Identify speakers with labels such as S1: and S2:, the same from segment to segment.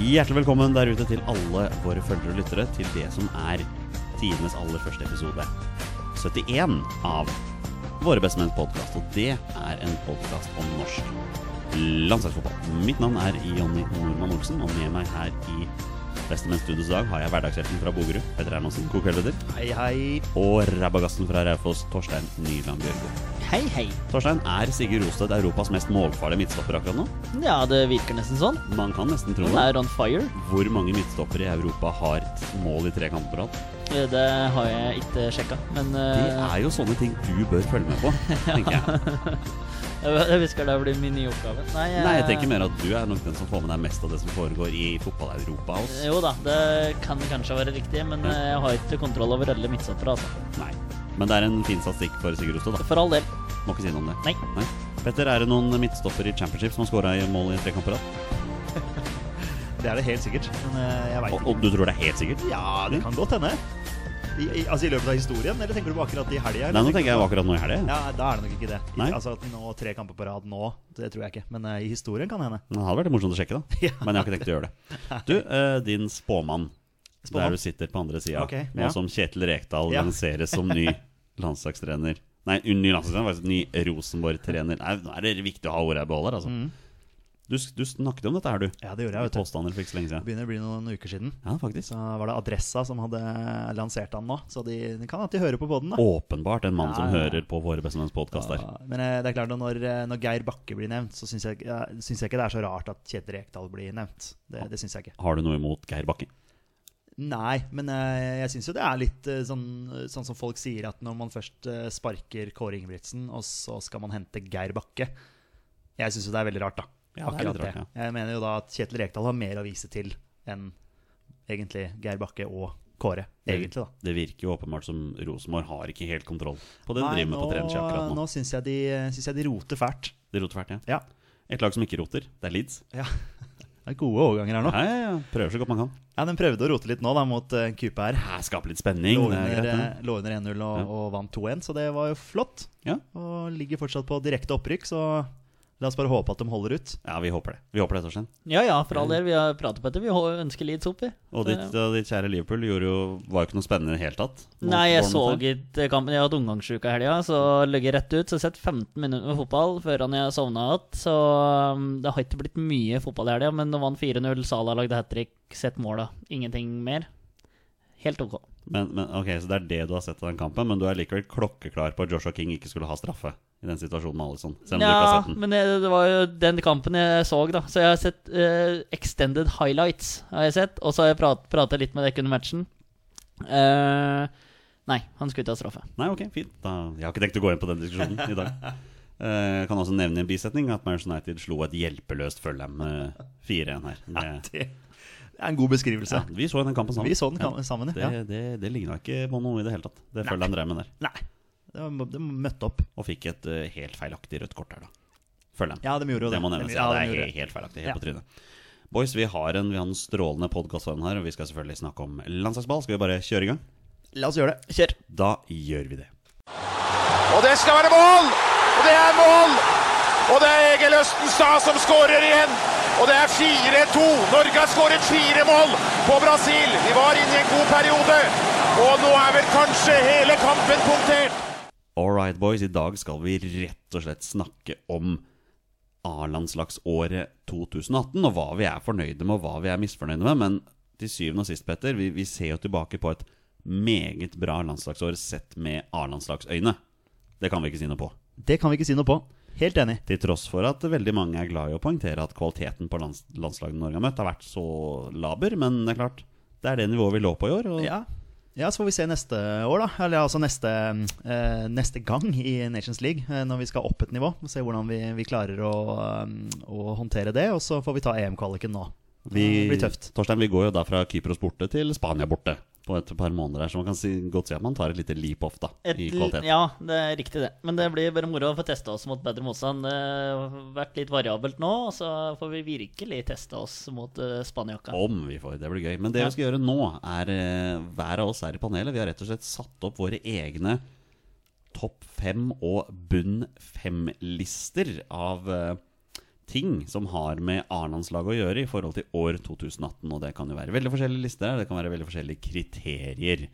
S1: Hjertelig velkommen der ute til alle våre følgere og lyttere til det som er tidenes aller første episode 71 av Våre bestemenns podkast. Og det er en podkast om norsk landslagsfotball. Mitt navn er Jonny Normann Olsen, og med meg her i Bestemenns Studios i dag har jeg hverdagshelten fra Bogerud, Petter Hermansen, god kveld, Petter.
S2: Hei, hei.
S1: Og rabagassen fra Raufoss, Torstein Nyland Bjørgo.
S2: Hei, hei.
S1: Torstein, er Sigurd Rosted Europas mest målfarlige midtstopper akkurat nå?
S2: Ja, det virker nesten sånn.
S1: Man kan nesten tro
S2: Den
S1: det.
S2: er on fire.
S1: Hvor mange midtstoppere i Europa har mål i tre kamper på rad?
S2: Eh, Det har jeg ikke sjekka, men
S1: Det
S2: eh,
S1: er jo sånne ting du bør følge med på, tenker jeg.
S2: jeg jeg husker det blir min nye oppgave. Nei, eh,
S1: Nei, jeg tenker mer at du er nok den som får med deg mest av det som foregår i fotball-Europa. altså.
S2: eh, Jo da, det kan kanskje være riktig, men
S1: Ja.
S2: eh, jeg har ikke kontroll over alle midtstoppere, altså.
S1: Nei. Men det er en fin statistikk for Sigurd Rostad, da.
S2: For all del.
S1: Må ikke si noe om det.
S2: Nei.
S1: Petter, er det noen midtstopper i championship som har skåra mål i tre kamper på rad?
S3: Det er det helt sikkert. Men eh, jeg veit
S1: Og,
S3: ikke.
S1: og du tror det er helt sikkert?
S3: Ja, det kan godt hende. I, i, altså I løpet av historien, eller tenker du på akkurat i helga?
S1: Nei, nå tenker jeg akkurat nå i helga.
S3: Ja, Da er det nok ikke det. I,
S1: Nei.
S3: altså at nå Tre kamper på rad nå, det tror jeg ikke. Men eh, i historien kan hende.
S1: Men Det hadde vært morsomt å sjekke, da. Men jeg har ikke tenkt å gjøre det. Du, eh, din spåmann, der
S3: Spåmann?
S1: du sitter på andre sida,
S3: Ok,
S1: nå
S3: ja.
S1: som Kjetil Rekdal
S3: Ja.
S1: lanseres som ny landslagstrener Nei, ny landslagstrener, faktisk ny Rosenborg-trener. Nei, Nå er det viktig å ha ordet jeg beholder, altså. Du, du snakket om dette her, du.
S3: Mm. Ja, det gjorde
S1: I
S3: jeg, vet du.
S1: påstander for ikke så lenge
S3: Det
S1: siden.
S3: begynner å bli noen uker siden.
S1: Ja, faktisk.
S3: Så var det Adressa som hadde lansert han nå, så de, de kan alltid høre på poden, da.
S1: Åpenbart en mann
S3: Ja,
S1: som
S3: ja.
S1: hører på Våre bestemenns podkast der.
S3: Ja, Men eh, det er klart at når, eh, når Geir Bakke blir nevnt, så syns jeg, ja, syns jeg ikke det er så rart at Kjetil Rekdal blir nevnt. Det, det syns jeg ikke.
S1: Har du noe imot Geir Bakke?
S3: Nei, men eh, jeg syns jo det er litt eh, sånn, sånn som folk sier at når man først eh, sparker Kåre Ingebrigtsen, og så skal man hente Geir Bakke. Jeg syns jo det er veldig rart, da.
S1: Ja, det er litt rart, ja.
S3: Jeg mener jo da at Kjetil Rekdal har mer å vise til enn egentlig Geir Bakke og Kåre. Egentlig, da.
S1: Det virker jo åpenbart som Rosenborg har ikke helt kontroll på det de driver med på
S3: nå,
S1: trening akkurat nå.
S3: nå syns jeg, de- syns jeg de roter fælt.
S1: De roter fælt, ja.
S3: Ja.
S1: Et lag som ikke roter, det er Leeds.
S3: ja. Det er gode overganger her nå.
S1: Ja, ja, ja. Prøver så godt man kan.
S3: Ja, Den prøvde å rote litt nå, da, mot uh, Kupe her.
S1: Ja, Skape litt spenning.
S3: Lå
S1: Det er
S3: under,
S1: greit, det.
S3: eh, lå under 1-0 og, og vant 2-1, så det var jo flott.
S1: Ja.
S3: Og ligger fortsatt på direkte opprykk, så la oss bare håpe at de holder ut.
S1: ja, vi håper det. Vi håper det, Torstein.
S2: Ja ja, for all del. Vi har pratet på dette. Vi hå- ønsker Leeds opp, vi.
S1: Og ditt,
S2: Så-
S1: og ditt kjære Liverpool gjorde jo, var jo ikke noe spennende i det hele tatt. mot
S2: Nei, jeg så
S1: Bournemouth her.
S2: ikke kampen. Jeg hadde omgangsuke i helga, så ligger rett ut. Så jeg har sett 15 minutter med fotball før han jeg sovna igjen. Så um, det har ikke blitt mye fotball i helga, men nå vant 4-0. Salah lagde hat trick, sett måla. Ingenting mer. Helt ok.
S1: Men, men, ok, Så det er det du har sett av den kampen, men du er likevel klokkeklar på at Joshua King ikke skulle ha straffe i den situasjonen med Alison. Selv om du ikke har
S2: Ja,
S1: sett den.
S2: men det, det var jo den kampen jeg så, da. Så jeg har sett eh, extended highlights, har jeg sett. Og så har jeg prat, prata litt med dere under matchen. Eh, nei, han skulle ikke ha straffe.
S1: Nei, ok, fint. Da, jeg har ikke tenkt å gå inn på den diskusjonen i dag. Eh, Jeg kan også nevne i en bisetning at Manchester United slo et hjelpeløst Fulham eh, 4-1 her. Det,
S3: Det er en god beskrivelse.
S1: ja, vi så den kampen sammen.
S3: Vi så den kam-
S1: Ja.
S3: sammen,
S1: Det,
S3: ja.
S1: det, det ligna ikke på noe i det hele tatt, det Fulham drev med der.
S3: Nei, de, de møtte opp.
S1: Og fikk et eh, helt feilaktig rødt kort her, da. Fulham.
S3: Ja, de gjorde jo det.
S1: Det må nevnes.
S3: De-
S1: Ja,
S3: ja,
S1: det
S3: de
S1: er
S3: gjorde
S1: helt, helt feilaktig. Helt
S3: Ja.
S1: på trynet. Boys, vi har en, vi har en strålende podkastform her, og vi skal selvfølgelig snakke om landslagsball. Skal vi bare kjøre i gang?
S3: La oss gjøre det.
S2: Kjør!
S1: Da gjør vi det.
S4: Og det skal være mål! Og det er mål! Og det er Egil Østenstad som skårer igjen. Og det er 4-2. Norge har skåret fire mål på Brasil. Vi var inne i en god periode. Og nå er vel kanskje hele kampen punktert.
S1: All right, boys. I dag skal vi rett og slett snakke om A-landslagsåret 2018, og hva vi er fornøyde med, og hva vi er misfornøyde med. Men til syvende og sist, Petter, vi, vi ser jo tilbake på et meget bra landslagsår sett med A-landslagsøyne. Det kan vi ikke si noe på.
S3: Det kan vi ikke si noe på. Helt enig.
S1: Til tross for at veldig mange er glad i å poengtere at kvaliteten på lands landslagene Norge har møtt, har vært så laber. Men det er klart, det er det nivået vi lå på i år. Og
S3: Ja. ja, så får vi se neste år, da. Eller altså neste, eh, neste gang i Nations League, eh, når vi skal opp et nivå. Se hvordan vi, vi klarer å, eh, å håndtere det. Og så får vi ta EM-kvaliken nå.
S1: vi,
S3: Det blir tøft.
S1: Torstein, vi går jo da fra Kypros borte til Spania borte på et par måneder her, så man kan si, godt si at man tar et lite leap off da,
S2: Et,
S1: i kvalitet.
S2: ja, det er riktig det. Men det blir bare moro å få testa oss mot bedre motstand. Det har vært litt variabelt nå, og så får vi virkelig testa oss mot uh, Spaniakka.
S1: Om vi får, det blir gøy. Men det vi skal gjøre nå, er eh, hver av oss her i panelet. Vi har rett og slett satt opp våre egne topp fem og bunn fem-lister av eh, ting som har med A-landslaget å gjøre i forhold til år 2018. Og det kan jo være veldig forskjellige lister, det kan være veldig forskjellige kriterier.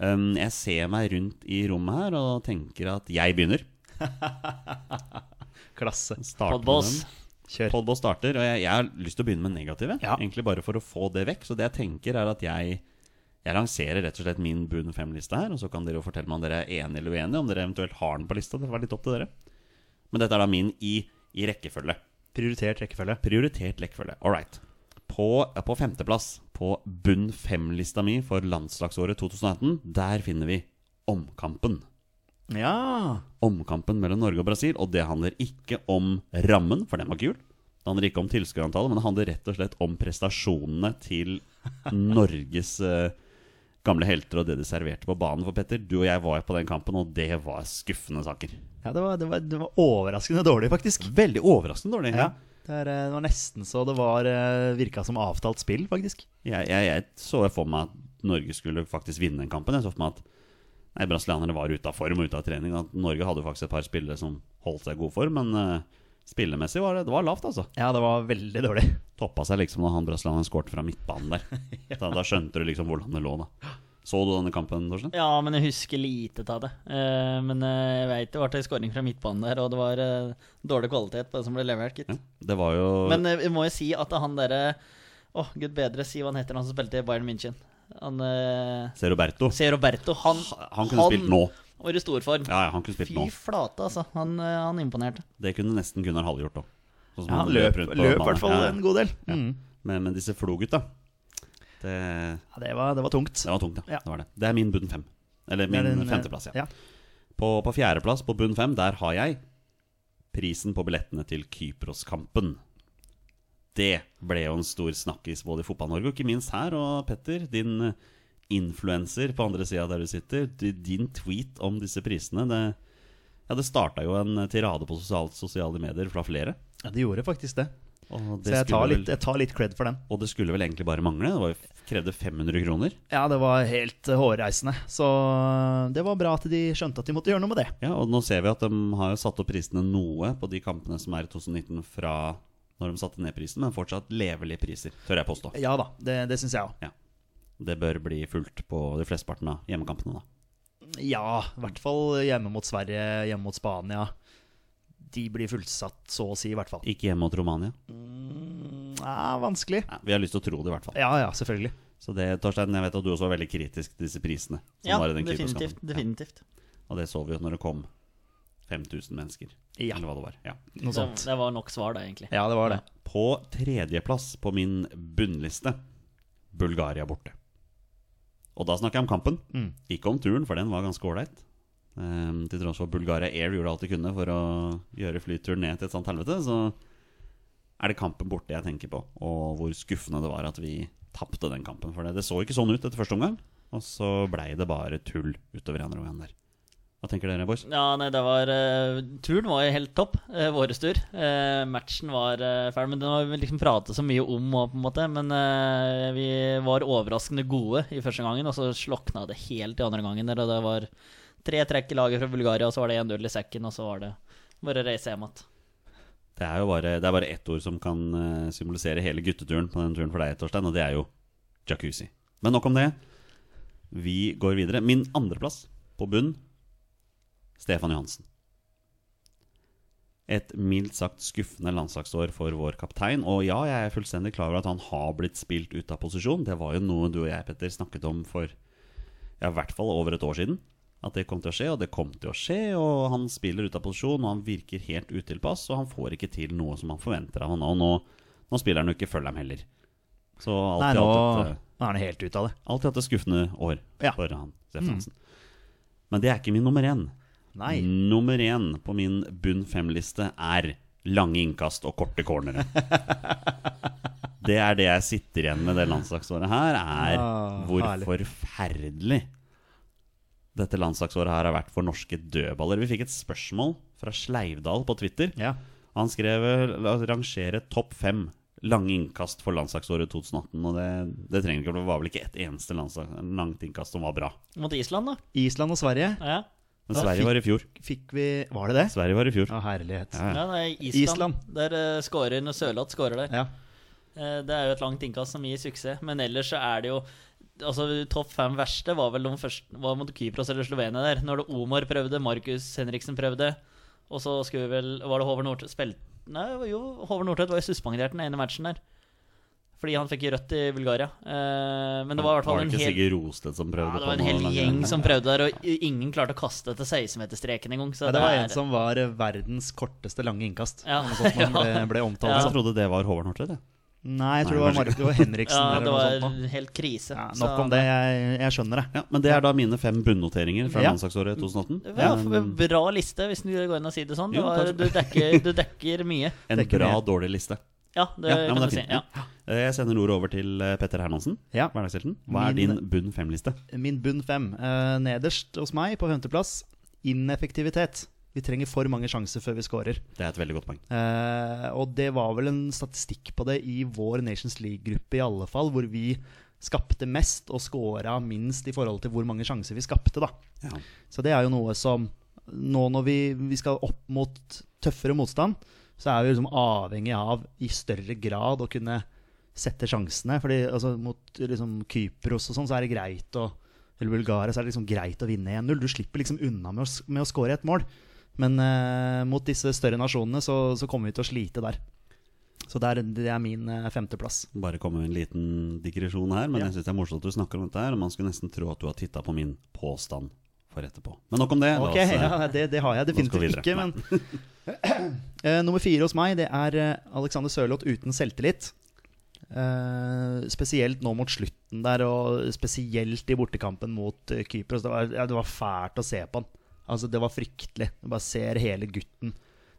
S1: Um, jeg ser meg rundt i rommet her og tenker at jeg begynner.
S3: Klasse.
S1: Starter med
S2: Podboss.
S1: den.
S3: Kjør.
S1: Podboss starter, og jeg, jeg har lyst til å begynne med negative.
S3: Ja.
S1: Egentlig bare for å få det vekk. Så det jeg tenker, er at jeg, jeg lanserer rett og slett min Boon 5-liste her. Og så kan dere jo fortelle meg om dere er enige eller uenige, om dere eventuelt har den på lista. Det var litt opp til dere. Men dette er da min i, i rekkefølge.
S3: Prioritert rekkefølge.
S1: Prioritert lekkefølge. All right. På, eh, på femteplass, på bunn fem-lista mi for landslagsåret 2018, der finner vi omkampen.
S3: Ja.
S1: Omkampen mellom Norge og Brasil, og det handler ikke om rammen, for den var kul. Det handler ikke om tilskuerantallet, men det handler rett og slett om prestasjonene til Norges eh, gamle helter og det de serverte på banen for Petter. Du og jeg var jo på den kampen, og det var skuffende saker.
S3: ja det, var, det, var, det var overraskende dårlig, faktisk.
S1: Veldig overraskende dårlig.
S3: Ja. Det, er, eh, det var nesten så det var eh, virka som avtalt spill, faktisk.
S1: Jeg, jeg, jeg så for meg at Norge skulle faktisk vinne den kampen. Jeg så for meg at nei, brasilianere var ute av form og ute av trening. At Norge hadde faktisk et par spillere som holdt seg i god form, men eh, spillemessig var det, det var lavt, altså.
S3: Ja, det var veldig dårlig.
S1: Toppa seg liksom da han brasilianeren skårte fra midtbanen der. da, da skjønte du liksom hvordan det lå, da. Så du denne kampen, Torstein?
S2: Ja, men jeg husker lite av det. Eh, men eh, jeg veit det ble en skåring fra midtbanen der, og det var eh, dårlig kvalitet på det som ble levert, gitt.
S1: Ja. Det var jo
S2: Men eh, vi må jo si at han derre Å, gud bedre, si hva han heter, han som spilte i Bayern München. Han eh,
S1: Se Roberto.
S2: Se Roberto, han,
S1: Han kunne spilt nå.
S2: var i storform.
S1: Ja, ja, han kunne spilt
S2: Fy
S1: nå.
S2: flate, altså. Han, eh, han imponerte.
S1: Det kunne nesten Gunnar Halle gjort òg. Sånn som
S3: Ja, han
S1: løp
S3: løp
S1: rundt på
S3: løp i
S1: banen.
S3: hvert fall
S1: Ja, ja.
S3: en god del. Mm.
S1: Men, men disse flogutta, det
S3: Ja, det, var, det var tungt.
S1: Det var tungt, ja.
S3: Ja.
S1: Det, var det. det er min bunn fem. Eller min
S3: Det er den, eh,
S1: femteplass, ja.
S3: ja.
S1: På, på fjerdeplass på bunn fem, der har jeg prisen på billettene til Kypros-kampen. Det ble jo en stor snakkis både i Fotball-Norge og ikke minst her. Og Petter, din influenser på andre sida der du sitter, di- din tweet om disse prisene det, ja, det starta jo en eh, tirade på sosial, sosiale medier fra flere.
S3: Ja, det gjorde faktisk det.
S1: Og
S3: Så
S1: det,
S3: jeg tar,
S1: skulle
S3: litt,
S1: vel,
S3: jeg tar litt cred for den.
S1: og det skulle vel egentlig bare mangle. Det var jo, krevde 500 kroner.
S3: Ja, det var helt eh, hårreisende. Så eh, det var bra at de skjønte at de måtte gjøre noe med det.
S1: Ja, og nå ser vi at de har jo satt opp prisene noe på de kampene som er i 2019 fra når de satte ned prisen, men fortsatt levelige priser, tør jeg påstå.
S3: Ja da, det, det syns jeg òg.
S1: Ja. Det bør bli fulgt på de flesteparten av hjemmekampene, da.
S3: Ja, i hvert fall hjemme mot Sverige, hjemme mot Spania. De blir fullsatt, så å si, i hvert fall.
S1: Ikke hjemme mot Romania.
S3: Ja, vanskelig.
S1: Nei, vi har lyst til å tro det, i hvert fall.
S3: Ja ja, selvfølgelig.
S1: Så det, Torstein, jeg vet at du også var veldig kritisk til disse prisene. som
S2: Ja,
S1: var i den
S2: definitivt.
S1: Kypros-kampen.
S2: definitivt.
S1: Ja. Og det så vi jo når det kom 5000 mennesker,
S3: Ja.
S1: eller hva det var. Ja.
S3: Noe
S2: Det,
S3: sånt.
S2: det var nok svar, da, egentlig.
S3: Ja, det var det.
S1: På tredjeplass på min bunnliste, Bulgaria borte. Og da snakker jeg om kampen.
S3: Mm.
S1: Ikke om turen, for den var ganske ålreit. Ehm, til tross for at Bulgaria Air gjorde alt de kunne for å gjøre flyturen ned til et sånt helvete, så er det kampen borte jeg tenker på, og hvor skuffende det var at vi tapte den kampen. For det, det så ikke sånn ut etter første omgang, og så blei det bare tull utover i andre omgang der. Hva tenker dere, boys?
S2: Ja, nei, det var eh, Turen var jo helt topp. Uh, Våres tur. Eh, matchen var uh, fæl, men den har vi liksom pratet så mye om òg, på en måte. Men eh, vi var overraskende gode i første gangen, og så slokna det helt i andre gangen. Der, og det var tre trekk i laget fra Bulgaria, og så var det 1-0 i sekken, og så var det bare å reise hjem igjen.
S1: Det er jo bare, det er bare ett ord som kan eh, symbolisere hele gutteturen på den turen for deg, Torstein, og det er jo jacuzzi. Men nok om det. Vi går videre. Min andreplass på bunn, Stefan Johansen. Et mildt sagt skuffende landslagsår for vår kaptein. Og ja, jeg er fullstendig klar over at han har blitt spilt ut av posisjon. Det var jo noe du og jeg, Petter, snakket om for ja, i hvert fall over et år siden. At det kom til å skje, og det kom til å skje. Og han spiller ut av posisjon, og han virker helt utilpass, og han får ikke til noe som man forventer av han. Og nå, nå spiller han jo ikke Følheim heller. Så alt eh,
S3: Nei,
S1: i
S3: nå,
S1: alt dette-
S3: nå er han helt ute av det.
S1: Alltid hatt et skuffende år
S3: Ja. Mm.
S1: for han, Steffen Hansen. Men det er ikke min nummer én.
S3: Nei.
S1: Nummer én på min bunn fem-liste er lange innkast og korte cornere. det er det jeg sitter igjen med det landslagsåret her, er
S3: Ah,
S1: hvor
S3: herlig.
S1: forferdelig dette landslagsåret her har vært for norske dødballer. Vi fikk et spørsmål fra Sleivdal på Twitter.
S3: Ja.
S1: Han skrev eh, la oss rangere topp fem lange innkast for landslagsåret 2018. Og det, det trenger ikke, for det var vel ikke ett eneste landslag, langt innkast som var bra.
S2: Mot Island, da.
S3: Island og Sverige.
S2: Ja.
S1: Men
S3: Ja,
S1: Sverige
S3: fint.
S1: var i fjor.
S3: Fikk vi Var det det?
S1: Sverige var i fjor.
S3: Ja, herlighet.
S1: Ja, ja.
S2: Ja, det er Island.
S3: Island.
S2: Der uh, skårer når Sørloth skårer der.
S3: Ja.
S2: Eh, Det er jo et langt innkast som gir suksess, men ellers så er det jo Altså, Topp fem verste var vel de første var mot Kypros eller Slovenia der. Når det Omar prøvde, Markus Henriksen prøvde, og så skulle vi vel Var det Håvard Nordtvedt spilt... Nei, jo, Håvard Nordtvedt var jo suspendert den ene matchen der. Fordi han fikk rødt i Bulgaria. Eh, men det var i hvert fall
S1: det
S2: en
S1: ikke
S2: hel
S1: Sigurd Rosted som prøvde
S2: ja, det var en
S1: på
S2: hel
S1: noe
S2: gjeng
S1: langrenn?
S2: som prøvde der, og i- ingen klarte å kaste etter 16-meterstreken engang. Så
S3: Ja, det var
S2: er-
S3: en som var eh, verdens korteste lange innkast.
S2: Ja.
S3: eller Noe sånt man ble,
S2: Ja.
S3: ble omtalt
S1: Jeg
S3: som.
S1: trodde det var Håvard Nortvedt, jeg.
S3: Nei, jeg tror det
S1: Nei,
S3: var Mark det var Henriksen
S2: Ja,
S3: eller
S2: det
S3: noe
S2: var sånn,
S3: sånt.
S2: helt krise.
S3: Da. Ja,
S2: så-
S3: nok om det. Jeg, jeg skjønner det.
S1: Ja, men det er da mine fem bunnnoteringer fra
S3: Ja.
S1: landslagsåret 2018.
S2: Ja,
S1: Um,
S2: for- bra liste, hvis du går inn og sier det sånn.
S1: Jo,
S2: Det var-
S1: takk.
S2: du, dekker, du dekker mye.
S1: en
S3: Det er ikke
S1: bra,
S3: mye.
S1: dårlig liste.
S2: Ja, det
S1: Ja, ja, men
S2: kan
S1: det
S2: du
S1: er
S2: si.
S1: fint.
S2: Ja.
S1: Eh, Jeg sender ordet over til eh, Petter Hermansen.
S3: Ja.
S1: Hverdagshelten. Hva er
S3: Min-
S1: din bunn fem-liste?
S3: Min bunn fem. eh, nederst hos meg, på femteplass, ineffektivitet. Vi trenger for mange sjanser før vi scorer.
S1: Det er et veldig godt poeng.
S3: Eh, og det var vel en statistikk på det i vår Nations League-gruppe, i alle fall, hvor vi skapte mest og scora minst i forhold til hvor mange sjanser vi skapte, da.
S1: Ja.
S3: Så det er jo noe som Nå når vi, vi skal opp mot tøffere motstand, så er vi liksom avhengig av i større grad å kunne sette sjansene. Fordi altså, mot liksom, Kypros og sånn, så er det greit å Eller Bulgaria, så er det liksom greit å vinne 1-0. Du slipper liksom unna med å, s- med å score et mål. Men eh, mot disse større nasjonene så, så kommer vi til å slite der. Så det er, det er min eh, femteplass.
S1: Bare komme med en liten digresjon her, men
S3: Ja.
S1: jeg syns det er morsomt at du snakker om dette her, og man skulle nesten tro at du har titta på min påstand for etterpå. Men nok om det. La
S3: Ok,
S1: oss, eh,
S3: ja, det, det har jeg
S1: nå skal vi
S3: definitivt ikke,
S1: videre.
S3: men Eh, nummer fire hos meg, det er eh, Alexander Sørloth uten selvtillit. Eh, spesielt nå mot slutten der, og spesielt i bortekampen mot eh, Kypros. Det var, ja, det var fælt å se på han. Altså, det var fryktelig. Du bare ser hele gutten.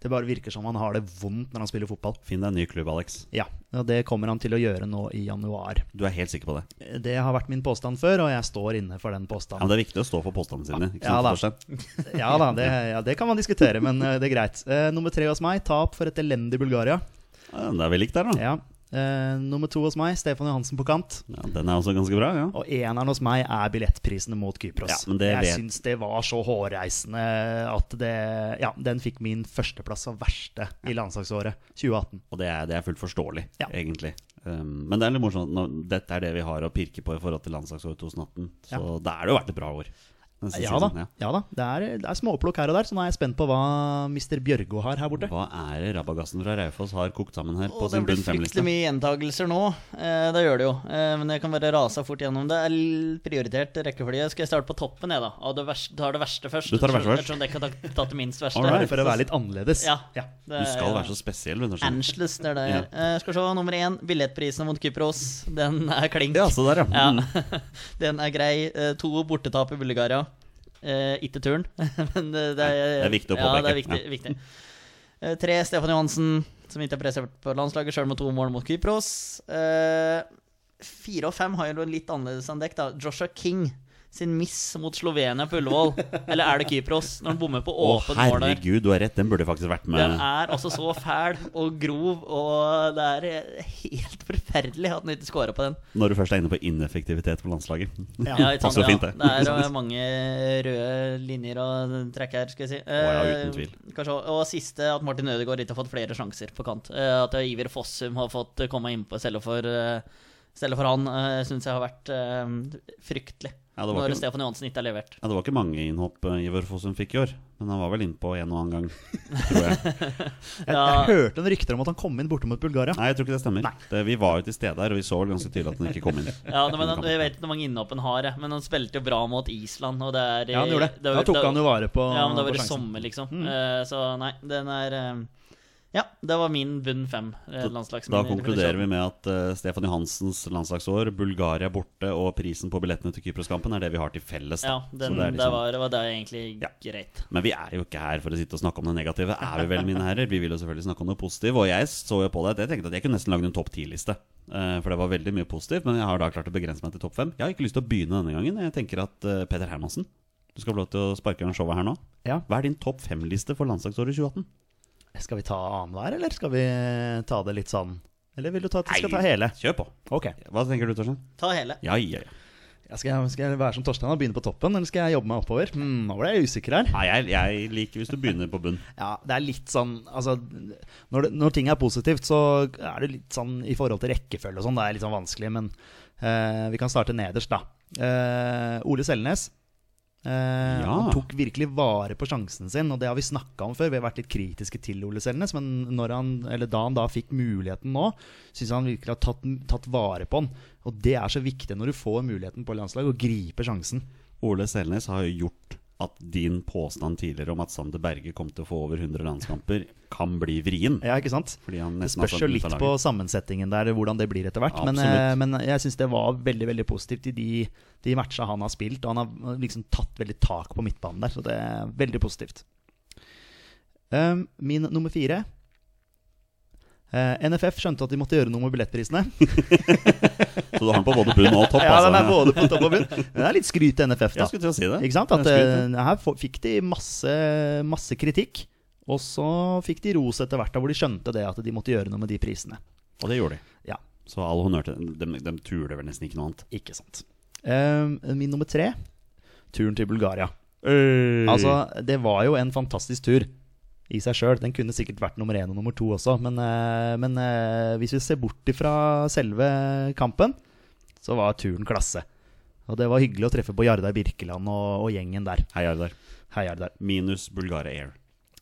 S3: Det bare virker som han har det vondt når han spiller fotball.
S1: Finn deg en ny klubb, Alex.
S3: Ja, og det kommer han til å gjøre nå i januar.
S1: Du er helt sikker på det.
S3: Eh, Det har vært min påstand før, og jeg står inne for
S1: Ja,
S3: den
S1: men
S3: påstanden.
S1: Det er viktig å stå for påstandene sine. ikke
S3: Ja,
S1: sant,
S3: da.
S1: Torstein?
S3: Ja da, det, ja, det kan man diskutere, men eh, det er greit. Eh, nummer tre hos meg, tap for et elendig Bulgaria.
S1: Ja, det er vi likt der, da.
S3: Ja. Eh, nummer to hos meg, Stefan Johansen på kant.
S1: Ja, den er også ganske bra. ja.
S3: Og eneren hos meg er billettprisene mot Kypros.
S1: Ja, men det
S3: jeg
S1: vet-
S3: syns det var så hårreisende at det Ja, den fikk min førsteplass og verste i landslagsåret 2018.
S1: Og det er, det er fullt forståelig,
S3: Ja.
S1: egentlig. Um, men det er litt morsomt. Nå, dette er det vi har å pirke på i forhold til landslagsåret 2018. Så da er det jo vært et bra år. Den siste
S3: Ja da.
S1: sesongen,
S3: ja da Det er, det er småplukk her og der, så nå er jeg spent på hva Mr. Bjørgo har her borte.
S1: Hva er det Rabagassen fra Raufoss har kokt sammen her på
S2: Og det
S1: sin
S2: blir
S1: bunn liksom?
S2: fryktelig
S1: fem-liste?
S2: mye gjentagelser nå. Eh, det gjør det jo. Eh, men jeg kan bare rase fort gjennom det. L- Prioritert rekkefølge. Skal jeg starte på toppen, jeg, da? Av det verste, tar det verste først.
S1: Du tar det verste
S2: ettersom-
S1: først.
S2: Ettersom dere ikke har tatt- tatt det minst verste.
S1: Alright.
S3: For å være litt annerledes.
S2: Ja.
S3: ja.
S2: Det
S1: Du
S2: er
S3: eh,
S1: skal
S2: jo-
S1: være så spesiell. vet du, skjønner.
S2: Angeles, det er det. jeg er. Eh, skal vi se, nummer én. Billettprisen mot Kypros. Den er klink.
S1: Ja, så der, ja. Mm.
S2: Ja, den er grei. Eh, To bortetap i Bulgaria. Eh, ikke turn, men eh, det
S1: Nei,
S2: er,
S1: det er viktig å
S2: Ja, det er
S1: påpeke.
S2: viktig, viktig. Eh, Tre Stefan Johansen, som ikke er presert på landslaget, sjøl med to mål mot Kypros. Eh, Fire og fem har jo noe litt annerledes enn dekk, da. Joshua King sin miss mot Slovenia på Ullevål. Eller er det Kypros? Når han bommer på
S1: Å,
S2: åpent mål der.
S1: herregud, du har rett. Den burde faktisk vært med.
S2: Den er altså så fæl og grov, og det er helt forferdelig at han ikke scorer på den.
S1: Når du først er inne på ineffektivitet på landslaget.
S3: Ja.
S2: Ja, ikke sant,
S1: passer jo fint,
S2: ja.
S1: det.
S2: det er eh, mange røde linjer å trekke her, skal jeg si.
S1: ja,
S2: Eh,
S1: uten tvil.
S2: Kanskje, og siste, at Martin Ødegaard ikke har fått flere sjanser på kant. Eh, At Iver Fossum har fått komme innpå i stedet for, eh, stedet for han, syns jeg har vært eh, fryktelig.
S1: Ja, det var
S2: når
S1: ikke-
S2: Stefan Johansen ikke har levert.
S1: Ja, det var ikke mange innhopp eh, Ivar Fossum fikk i år, men han var vel innpå en og annen gang. Tror jeg.
S3: Jeg, jeg hørte en rykter om at han kom inn borte mot Bulgaria.
S1: Nei, jeg tror ikke det stemmer. Det, vi var jo til stede her, og vi så vel ganske tydelig at han ikke kom inn.
S2: Ja, nei, men han, Jeg vet ikke hvor mange innhopp han har, jeg, men han spilte jo bra mot Island. Og det er,
S3: Ja, han gjorde det. Da tok han jo vare på
S2: Ja, men det har
S3: på
S2: vært
S3: sjansen.
S2: sommer, liksom. Eh, så nei, den er eh, Ja, det var min bunn fem. Uh,
S1: Da konkluderer vi med at eh, Stefan Johansens landslagsår, Bulgaria borte og prisen på billettene til Kypros-kampen er det vi har til felles. da.
S2: Ja, den,
S1: Så
S2: det,
S1: det er liksom-
S2: var, det var det egentlig greit.
S1: Men vi er jo ikke her for å sitte og snakke om det negative, er vi vel, mine herrer? Vi vil jo selvfølgelig snakke om det positive, og jeg så jo på det at jeg tenkte at jeg kunne nesten lagd en topp ti-liste. eh, For det var veldig mye positivt, men jeg har da klart å begrense meg til topp fem. Jeg har ikke lyst til å begynne denne gangen. Jeg tenker at eh, Peter Hermansen, du skal få lov til å sparke i gang showet her nå.
S3: Ja.
S1: Hva er din topp fem-liste for landslagsåret 2018?
S3: Skal vi ta annenhver, eller skal vi eh, ta det litt sånn Eller vil du ta at vi skal ta hele?
S1: Kjør på.
S3: Ok.
S1: Hva tenker du, Torstein?
S2: Ta hele.
S1: Ja, ja, ja.
S3: Ja, skal, jeg, skal jeg være som Torstein og begynne på toppen, eller skal jeg jobbe meg oppover? Hmm, nå ble jeg usikker her.
S1: Nei, jeg, jeg liker hvis du begynner på bunn.
S3: Ja, det er litt sånn Altså, når, det, når ting er positivt, så er det litt sånn i forhold til rekkefølge og sånn, det er litt sånn vanskelig, men eh, vi kan starte nederst, da. Eh, Ole Selnes. eh,
S1: Ja.
S3: Han tok virkelig vare på sjansen sin, og det har vi snakka om før. Vi har vært litt kritiske til Ole Selnes, men når han, eller da han da fikk muligheten nå, syns han virkelig har tatt, tatt vare på den. Og det er så viktig når du får muligheten på landslaget, å gripe sjansen.
S1: Ole Selnes har jo gjort at din påstand tidligere om at Sander Berge kom til å få over 100 landskamper, kan bli vrien.
S3: Ja, ikke sant?
S1: Fordi han
S3: Det
S1: nesten har
S3: spørs
S1: satt
S3: jo
S1: den ut
S3: litt
S1: av
S3: på
S1: laget.
S3: sammensetningen der, hvordan det blir etter hvert. Men,
S1: Absolutt.
S3: eh, men jeg syns det var veldig veldig positivt i de, de matcha han har spilt. Og han har liksom tatt veldig tak på midtbanen der, så det er veldig positivt. Um, min nummer fire. Eh, NFF skjønte at de måtte gjøre noe med billettprisene.
S1: Så du har den på både bunn og topp.
S3: ja, den er
S1: altså.
S3: både på topp og bunn. Men Det er litt skryt til NFF, da.
S1: Jeg skulle til å si det.
S3: Ikke sant? At,
S1: Jeg skulle til-
S3: eh, her få- fikk de masse, masse kritikk. Og så fikk de ros etter hvert, da, hvor de skjønte det at de måtte gjøre noe med de prisene.
S1: og det gjorde de.
S3: Ja,
S1: Så all honnør til dem. De, de tuler vel nesten ikke noe annet.
S3: Ikke sant. Ehm, min nummer tre turen til Bulgaria.
S1: Altså,
S3: Altså, det var jo en fantastisk tur i seg sjøl. Den kunne sikkert vært nummer én og nummer to også, men, eh, men eh, hvis vi ser bort ifra selve kampen, så var turen klasse. Og det var hyggelig å treffe på Jardar Birkeland og, og gjengen der.
S1: Hei, Jardar.
S3: Hei, Jardar.
S1: Minus Bulgaria Air.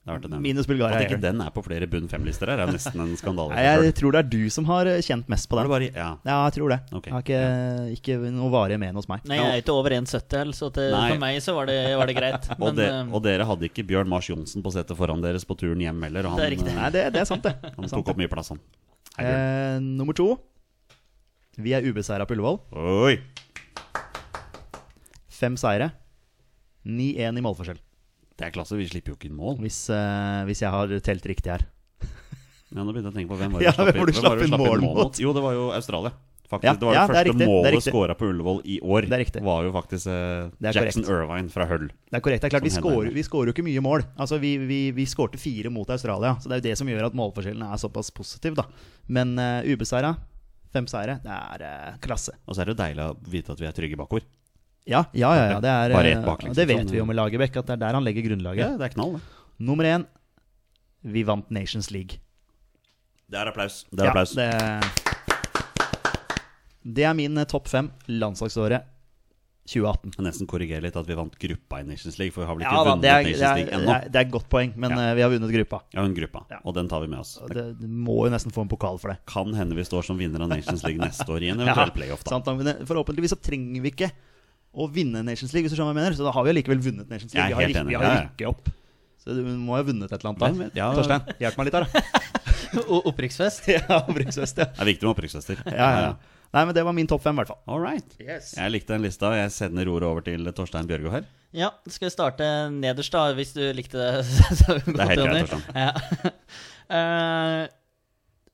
S1: Det har vært å nevne.
S3: Minus Bulgaria
S1: At ikke
S3: Air.
S1: den er på flere bunn fem-lister her, er jo nesten en skandale. i
S3: Nei,
S1: seg selv.
S3: jeg tror det er du som har eh, kjent mest på
S1: Var det
S3: den.
S1: bare, ja.
S3: Ja, jeg tror det.
S1: Ok,
S3: Jeg har ikke, ikke noe varige men hos meg.
S2: Nei, jeg er ikke over 1,70, så til,
S1: Nei.
S2: for meg så var det, var det greit.
S1: og,
S2: Men
S1: de,
S2: eh,
S1: og dere hadde ikke Bjørn Mars Johnsen på setet foran deres på turen hjem heller. Og han,
S2: Det er riktig.
S1: eh,
S3: Nei, det, det er sant, det.
S1: han
S3: Sant
S1: tok
S3: det.
S1: opp mye plass, han. Hei, Bjørn.
S3: Eh, nummer to. Vi er ubeseira på Ullevål.
S1: Oi!
S3: Fem seire. 9-1 i målforskjell,
S1: Det er klasse, vi slipper jo ikke inn mål.
S3: hvis, eh, hvis jeg har telt riktig her.
S1: Ja, nå begynte jeg å tenke på hvem var det
S3: Ja,
S1: vi slapp inn-
S3: hvem var
S1: hvem
S3: det
S1: var det
S3: slapp
S1: vi
S3: inn
S1: slapp inn
S3: mål
S1: mål
S3: mot?
S1: mot? Jo, det var jo Australia. Faktisk,
S3: Ja,
S1: Det var
S3: ja,
S1: det
S3: det er
S1: første
S3: riktig, det er
S1: målet
S3: riktig.
S1: skåra på Ullevål i år.
S3: Det er riktig.
S1: Var jo faktisk eh,
S3: Det er
S1: Jackson Irvine fra Hull.
S3: Det er korrekt. det er klart Vi
S1: Som Sånn hender.
S3: scorer, vi scorer jo ikke mye mål. Altså Vi, vi, vi skårte fire mot Australia, så det er jo det som gjør at målforskjellen er såpass positiv. da Men uh, ubeseira, fem seire, det er eh, klasse.
S1: Og så er det jo deilig å vite at vi er trygge bakover.
S3: Ja, ja, ja, ja det er eh,
S1: Bare ett bak, liksom.
S3: Det vet vi jo med Lagerbäck, at det er der han legger
S1: Ja,
S3: grunnlaget.
S1: det er knall, det.
S3: Nummer én, vi vant Nations League.
S1: Det er applaus. Det er applaus.
S3: Ja, det, det er min eh, topp fem landslagsåret 2018.
S1: Jeg nesten korrigerer litt at vi vant gruppa i Nations League, for vi har vel ikke
S3: Ja, da,
S1: vunnet
S3: det, er, det,
S1: Nations
S3: er,
S1: League
S3: det,
S1: ennå.
S3: er, det er et godt poeng, men
S1: Ja.
S3: eh, vi har vunnet gruppa.
S1: Ja, en gruppa,
S3: Ja.
S1: og den tar vi med oss.
S3: Og
S1: Det
S3: Det, det må jo nesten få en pokal for det.
S1: kan hende vi står som vinner av Nations League neste år i en eventuell playoff, da.
S3: sant, da, men eh, forhåpentligvis så trenger vi ikke å vinne Nations League, hvis du skjønner hva jeg mener. Så da har vi allikevel vunnet Nations League.
S1: Jeg er
S3: Vi har,
S1: helt
S3: rykk-
S1: enig.
S3: vi har
S1: Ja, ja.
S3: rykket opp. Så du må jo ha vunnet et eller annet.
S1: Hvem
S3: da.
S1: vet? Ja.
S3: Torstein, hjelp meg litt her, da.
S2: o- opprykksfest.
S3: ja, Bruksvest, ja.
S1: Det er viktig med opprykksfester.
S3: Ja, ja, ja. Nei, men det var min topp fem, i hvert fall.
S1: All right. Jeg likte den lista. og Jeg sender ordet over til Torstein Bjørgo her.
S2: Ja, skal vi starte nederst, da, hvis du likte det? så vi
S1: Det er helt
S2: gått
S1: greit,
S2: under. Ja. Eh,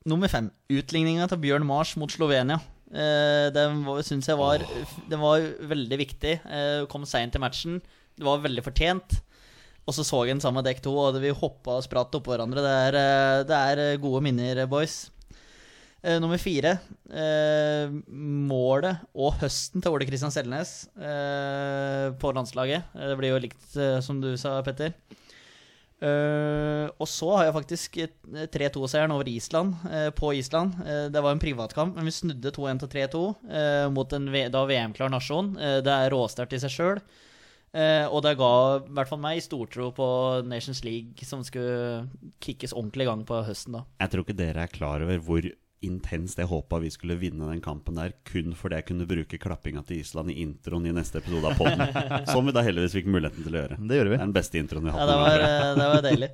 S2: nummer fem. Utligninga til Bjørn Mars mot Slovenia. Eh, den syns jeg var, den var veldig viktig. Eh, kom seint i matchen. Det var veldig fortjent. Og så så jeg den sammen med dekk to, og vi hoppa og spratt oppå hverandre. Det er, eh, det er eh, gode minner, boys. Eh, nummer fire. Eh, målet og høsten til Ole Kristian Selnes eh, på landslaget. Eh, Det blir jo likt, eh, som du sa, Petter. Eh, og så har jeg faktisk eh, 3-2-seieren over Island, eh, på Island. Eh, det var en privatkamp, men vi snudde 2-1 til 3-2 eh, mot en v da VM-klar nasjon. Eh, det er råsterkt i seg sjøl. Eh, og det ga i hvert fall meg stortro på Nations League, som skulle kickes ordentlig i gang på høsten. da
S1: Jeg tror ikke dere er klar over hvor intenst jeg håpa vi skulle vinne den kampen der, kun fordi jeg kunne bruke klappinga til Island i introen i neste episode av podden. Som vi da heldigvis fikk muligheten til å gjøre.
S3: Det gjorde
S1: Det er
S3: vi.
S1: den beste introen vi har hatt.
S2: Ja, det
S1: noen
S2: var,
S1: gang.
S2: eh, det var deilig.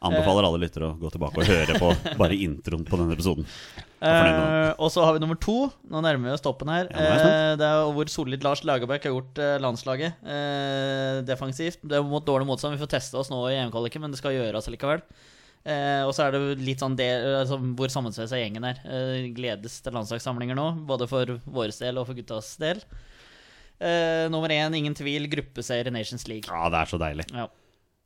S1: Anbefaler alle lyttere å gå tilbake og høre på bare introen på denne episoden. Jeg er fornøyd med den.
S2: Eh, og så har vi nummer to. Nå nærmer vi oss toppen her.
S1: Ja, nå er jeg spent.
S2: Eh, det er hvor solid Lars Lagerbäck har gjort eh, landslaget eh, defensivt. Det er mot dårlig motstand. Vi får teste oss nå i EM-kvaliken, men det skal gjøres likevel. Eh, og så er det jo litt sånn del, altså, hvor sammensveisa gjengen er. Eh, gledes til landslagssamlinger nå, både for vår del og for guttas del. Eh, nummer én, ingen tvil, gruppeseier i Nations League.
S1: Ja, det er så deilig.
S2: Ja.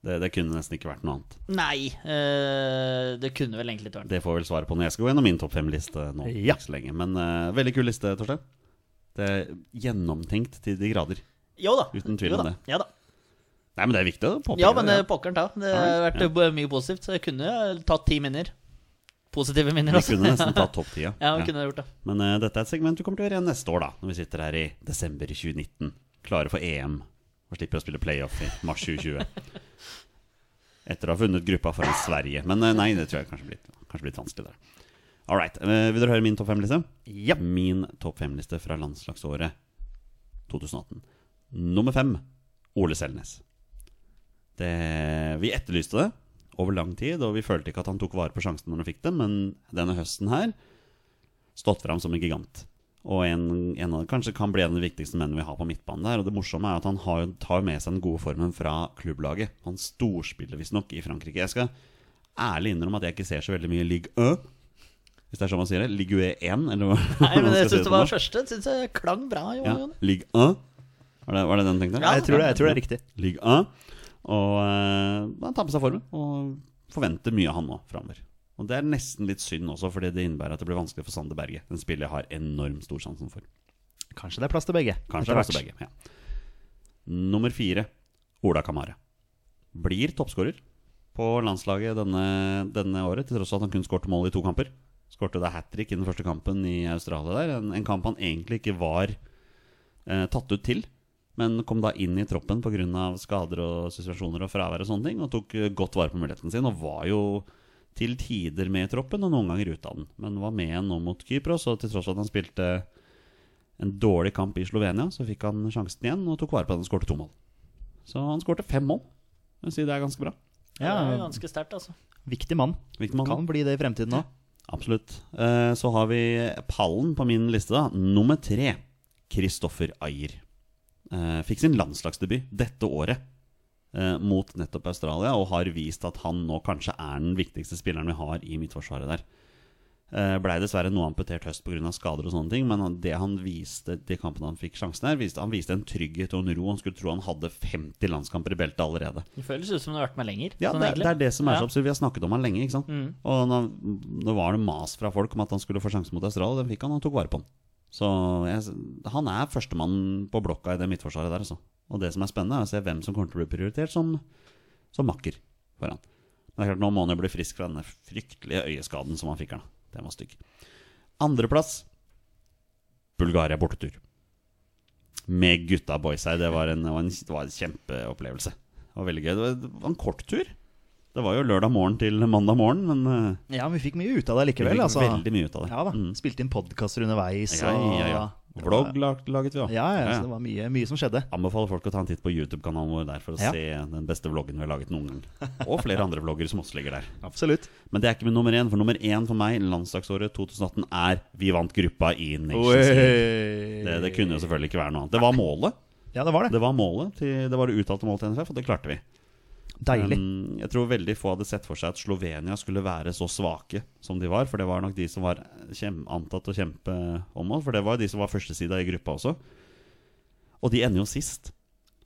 S1: Det, det kunne nesten ikke vært noe annet.
S2: Nei, eh, det kunne vel egentlig ikke vært
S1: Det får jeg vel svaret på når jeg skal gå gjennom min topp fem-liste nå.
S3: Ja.
S1: Ikke så lenge. Men eh, veldig kul liste, Torstein. Det er gjennomtenkt til de grader.
S2: Jo da.
S1: Uten tvil
S2: jo
S1: om
S2: da.
S1: det.
S2: Ja da.
S1: Nei, men det er viktig å påpeke
S2: Ja, men
S1: det.
S2: eh, pokkeren ta. Det har
S1: Alright,
S2: vært
S1: ja.
S2: eh, mye positivt, så jeg kunne eh, tatt ti minner. Positive minner,
S1: Vi
S2: altså.
S1: kunne nesten tatt topp tida.
S2: Ja, vi kunne gjort det.
S1: Men eh, dette er et segment du kommer til å gjøre igjen neste år, da. Når vi sitter her i desember 2019, klare for EM og slipper å spille playoff i mars 2020. Etter å ha funnet gruppa foran Sverige. Men eh, nei, det tror jeg kanskje blir, kanskje blir litt vanskelig der. All right. eh, vil dere høre min topp fem-liste?
S3: Ja.
S1: Min topp fem-liste fra landslagsåret 2018. Nummer fem Ole Selnes. Det, eh, vi etterlyste det over lang tid, og vi følte ikke at han tok vare på sjansen når han fikk det, men denne høsten her stått fram som en gigant. Og en, en av, kanskje kan bli en av de viktigste mennene vi har på midtbanen der. Og det morsomme er at han har, jo- tar med seg den gode formen fra klubblaget. Han storspiller visstnok i Frankrike. Jeg skal ærlig innrømme at jeg ikke ser så veldig mye Ligue 1. Hvis det er sånn man sier det. Ligue 1, eller hva hva
S2: Nei,
S1: man
S2: men
S1: skal
S2: jeg
S1: si
S2: syns det
S1: på
S2: var
S1: norsk.
S2: første. Syns jeg klang bra. Jo,
S1: ja,
S2: Jon.
S1: Ligue 1. Var det, var det den du tenkte?
S2: Ja.
S3: Jeg tror det, jeg tror det er riktig.
S1: Ligue 1. Og eh, han tar på seg formen og forventer mye av han nå framover. Og det er nesten litt synd også, fordi det innebærer at det blir vanskelig for Sander Berge. En spiller jeg har enormt stor sansen for.
S3: Kanskje det er plass til begge.
S1: Kanskje det er også begge. Ja. Nummer fire, Ola Kamara. Blir toppskårer på landslaget denne, denne året, til tross for at han kun skåret mål i to kamper. Skårte da hat trick i den første kampen i Australia der. En, en kamp han egentlig ikke var eh, tatt ut til, men kom da inn i troppen pga. skader og suspensjoner og fravær og sånne ting, og tok eh, godt vare på muligheten sin, og var jo til tider med i troppen og noen ganger ute av den. Men var med nå mot Kypros, og til tross for at han spilte en dårlig kamp i Slovenia, så fikk han sjansen igjen og tok vare på den og skårte to mål. Så han skårte fem mål. Jeg vil si det er ganske bra.
S3: Ja,
S2: Det er ganske sterkt, altså.
S3: Viktig mann.
S1: Viktig mann.
S3: Kan bli det i fremtiden òg.
S1: Absolutt. Eh, Så har vi pallen på min liste, da. Nummer tre. Kristoffer Ayer. Eh, Fikk sin landslagsdebut dette året eh, mot nettopp Australia, og har vist at han nå kanskje er den viktigste spilleren vi har i midtforsvaret der. Eh, Blei dessverre noe amputert høst pga. skader og sånne ting, men han- det han viste de kampene han fikk sjansen her, viste, han viste en trygghet og en ro. Han skulle tro han hadde 50 landskamper i beltet allerede.
S2: Det føles ut som det har vært med lenger.
S1: Ja,
S2: sånn
S1: det, er-
S2: egentlig.
S1: det er det som er
S2: Ja. Mm.
S1: så absurd. Vi har snakket om han lenge. ikke sant? Og nå, nå var det mas fra folk om at han skulle få sjansen mot Australia. Den fikk han, og han tok vare på den. Så jeg, han er førstemann på blokka i det midtforsvaret der, altså. Og det som er spennende, er å se hvem som kommer til å bli prioritert som, som makker for han. Men det er klart, nå må han jo bli frisk fra denne fryktelige øyeskaden som han fikk her, da. Den var stygg. Andreplass Bulgaria bortetur med gutta boys her. Det var en, det var en, det var en kjempeopplevelse. Det var veldig gøy. Det var, det var en kort tur. Det var jo lørdag morgen til mandag morgen, men eh,
S3: Ja, men vi fikk mye ut av det
S1: vi
S3: likevel.
S1: fikk
S3: Altså.
S1: veldig mye ut av det.
S3: Ja da.
S1: Mm.
S3: Spilte inn podkaster underveis.
S1: Ja, ja, ja.
S3: og-
S1: Vlogg lag- laget vi
S3: Ja,
S1: òg.
S3: ja, Så det var mye, mye som skjedde.
S1: Anbefaler folk å ta en titt på YouTube-kanalen vår der for å
S3: Ja.
S1: se den beste vloggen vi har laget noen gang. Og flere andre vlogger som også ligger der.
S3: Absolutt.
S1: Men det er ikke min nummer én, for nummer én for meg landslagsåret 2018 er vi vant gruppa i Nations League. Det,
S3: Det,
S1: det kunne jo selvfølgelig ikke være noe annet. Det var målet.
S3: Ja, det var det.
S1: Det var målet til, det var det uttalte målet til NFF, og det klarte vi.
S3: Deilig.
S1: Um, jeg tror veldig få hadde sett for seg at Slovenia skulle være så svake som de var. For det var nok de som var kjem, antatt å kjempe om mål. For det var jo de som var førstesida i gruppa også. Og de ender jo sist.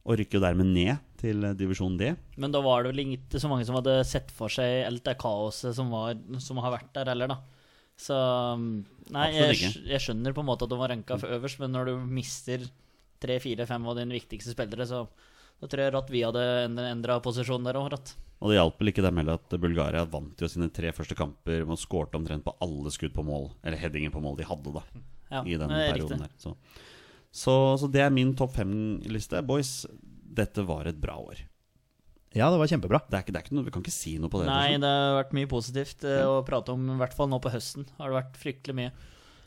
S1: Og rykker jo dermed ned til eh, divisjon D.
S2: Men da var det vel ikke så mange som hadde sett for seg alt det kaoset som, var, som har vært der heller, da. Så um, Nei, jeg,
S1: Absolutt ikke.
S2: skj- jeg skjønner på en måte at du var ranka for øverst, men når du mister tre, fire, fem av dine viktigste spillere, så da tror jeg at vi hadde endra posisjon der òg, Ratt.
S1: Og det hjalp vel ikke dem heller at Bulgaria vant jo sine tre første kamper og skårte omtrent på alle skudd på mål, eller headinger på mål de hadde, da.
S2: Ja,
S1: i den
S2: det er
S1: perioden
S2: riktig.
S1: der. Så. Så, så det er min topp fem-liste. Boys, dette var et bra år.
S3: Ja, det var kjempebra.
S1: Det er ikke, det er ikke noe, vi kan ikke si noe på det.
S2: Nei,
S1: liksom.
S2: det har vært mye positivt eh, å prate om, i hvert fall nå på høsten. Har det vært fryktelig mye.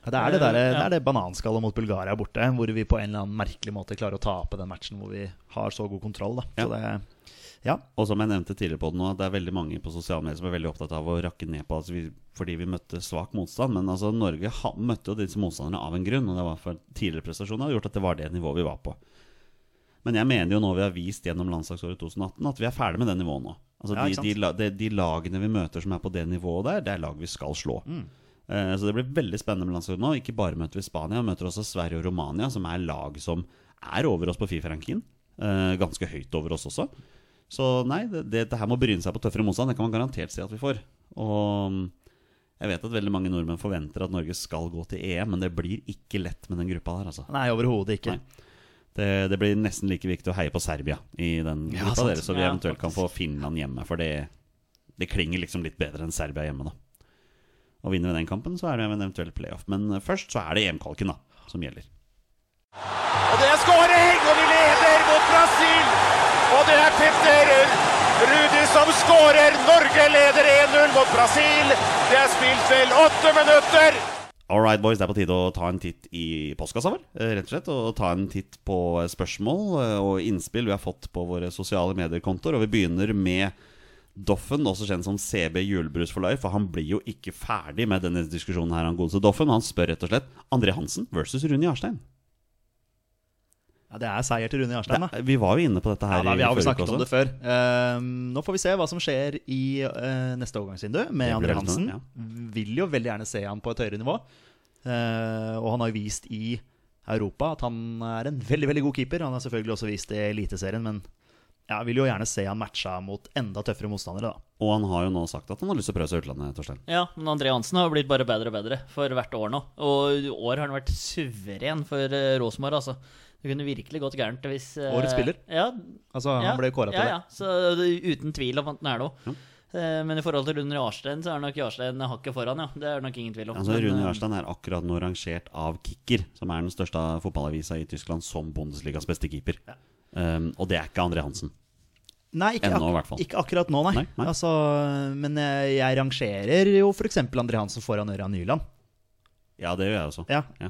S3: Ja, Det er det, der,
S2: Ja.
S3: det er det bananskallet mot Bulgaria borte, hvor vi på en eller annen merkelig måte klarer å tape den matchen hvor vi har så god kontroll. Da. Så det, ja,
S1: Og som jeg nevnte tidligere på det nå, at det er veldig mange på sosiale medier som er veldig opptatt av å rakke ned på altså vi, fordi vi møtte svak motstand. Men altså, Norge ha, møtte jo disse motstanderne av en grunn, og det var for at tidligere prestasjoner hadde gjort at det var det nivået vi var på. Men jeg mener jo nå vi har vist gjennom landslagsåret 2018 at vi er ferdig med det nivået nå. Altså
S3: Ja, ikke
S1: de,
S3: sant?
S1: de, la- de, de lagene vi møter som er på det nivået der, det er lag vi skal slå.
S3: Mm.
S1: Eh, Så det blir veldig spennende med landslaget nå. Ikke bare møter vi Spania, vi møter også Sverige og Romania, som er lag som er over oss på Fifa-rankingen. Eh, Ganske høyt over oss også. Så nei, det, det, det her må bryne seg på tøffere motstand. Det kan man garantert si at vi får. Og mm, Jeg vet at veldig mange nordmenn forventer at Norge skal gå til EM, men det blir ikke lett med den gruppa der, altså.
S3: Nei, overhodet ikke.
S1: Nei. Det, det blir nesten like viktig å heie på Serbia i den
S3: Ja,
S1: gruppa
S3: sant.
S1: deres, så vi
S2: Ja,
S1: eventuelt kan få
S2: faktisk.
S1: Finland hjemme. For det, det klinger liksom litt bedre enn Serbia hjemme, da. Og vinner vi den kampen, så er det en eventuell playoff. Men eh, først så er det EM-kalken, da, som gjelder.
S4: Og det er skåring, og vi leder mot Brasil. Og det er Petter Rudi som skårer. Norge leder 1-0 mot Brasil. Det er spilt vel åtte minutter.
S1: All right, boys, det er på tide å ta en titt i postkassa, vel? Eh, Rett og slett, og ta en titt på spørsmål eh, og innspill vi har fått på våre sosiale mediekontoer. Og vi begynner med Doffen, også kjent som CB Julebrus for life. For han blir jo ikke ferdig med denne diskusjonen her, han godeste Doffen. Han spør rett og slett André Hansen versus Rune Jarstein.
S3: Ja, det er seier til Rune Jarstein, da.
S1: Det- Vi var jo inne på dette her
S3: Ja, da,
S1: i
S3: vi har vel
S1: forrige uke
S3: snakket om det før. Ehm, nå får vi se hva som skjer i eh, neste
S1: Det
S3: overgangsvindu med
S1: blir
S3: André
S1: veldig
S3: Hansen.
S1: spennende,
S3: Vil jo veldig gjerne se han på et høyere nivå. Eh, og han har jo vist i Europa at han er en veldig veldig god keeper. Han har selvfølgelig også vist det i Eliteserien, men ja, vil jo gjerne se han matcha mot enda tøffere motstandere, da.
S1: Og han har jo nå sagt at han har lyst til å prøve seg i utlandet, Torstein.
S2: Ja, men André Hansen har blitt bare bedre og bedre for hvert år nå. Og i år har han vært suveren for eh, Rosenborg, altså. Det kunne virkelig gått gærent hvis eh,
S3: Årets spiller?
S2: Ja.
S3: Altså,
S2: ja,
S3: Han ble kåra til
S2: ja, ja. Så det er uten tvil om at han er det òg. Men i forhold til Rune Jarstein, så er nok Jarstein hakket foran, ja. Det er det nok ingen tvil om.
S1: Altså,
S2: Men,
S1: Rune
S2: eh,
S1: Jarstein er akkurat nå rangert av Kicker, som er den største fotballavisa i Tyskland, som Bundesligas beste keeper. Um, og det er ikke André Hansen.
S3: det. Nei, ikke,
S1: Ennå,
S3: ak
S1: i hvert fall.
S3: ikke akkurat nå, nei.
S1: Nei, nei.
S3: Altså, men jeg, jeg rangerer jo f.eks. André Hansen foran Ørjan Nyland.
S1: Ja, det gjør jeg også.
S3: Ja,
S1: Ja.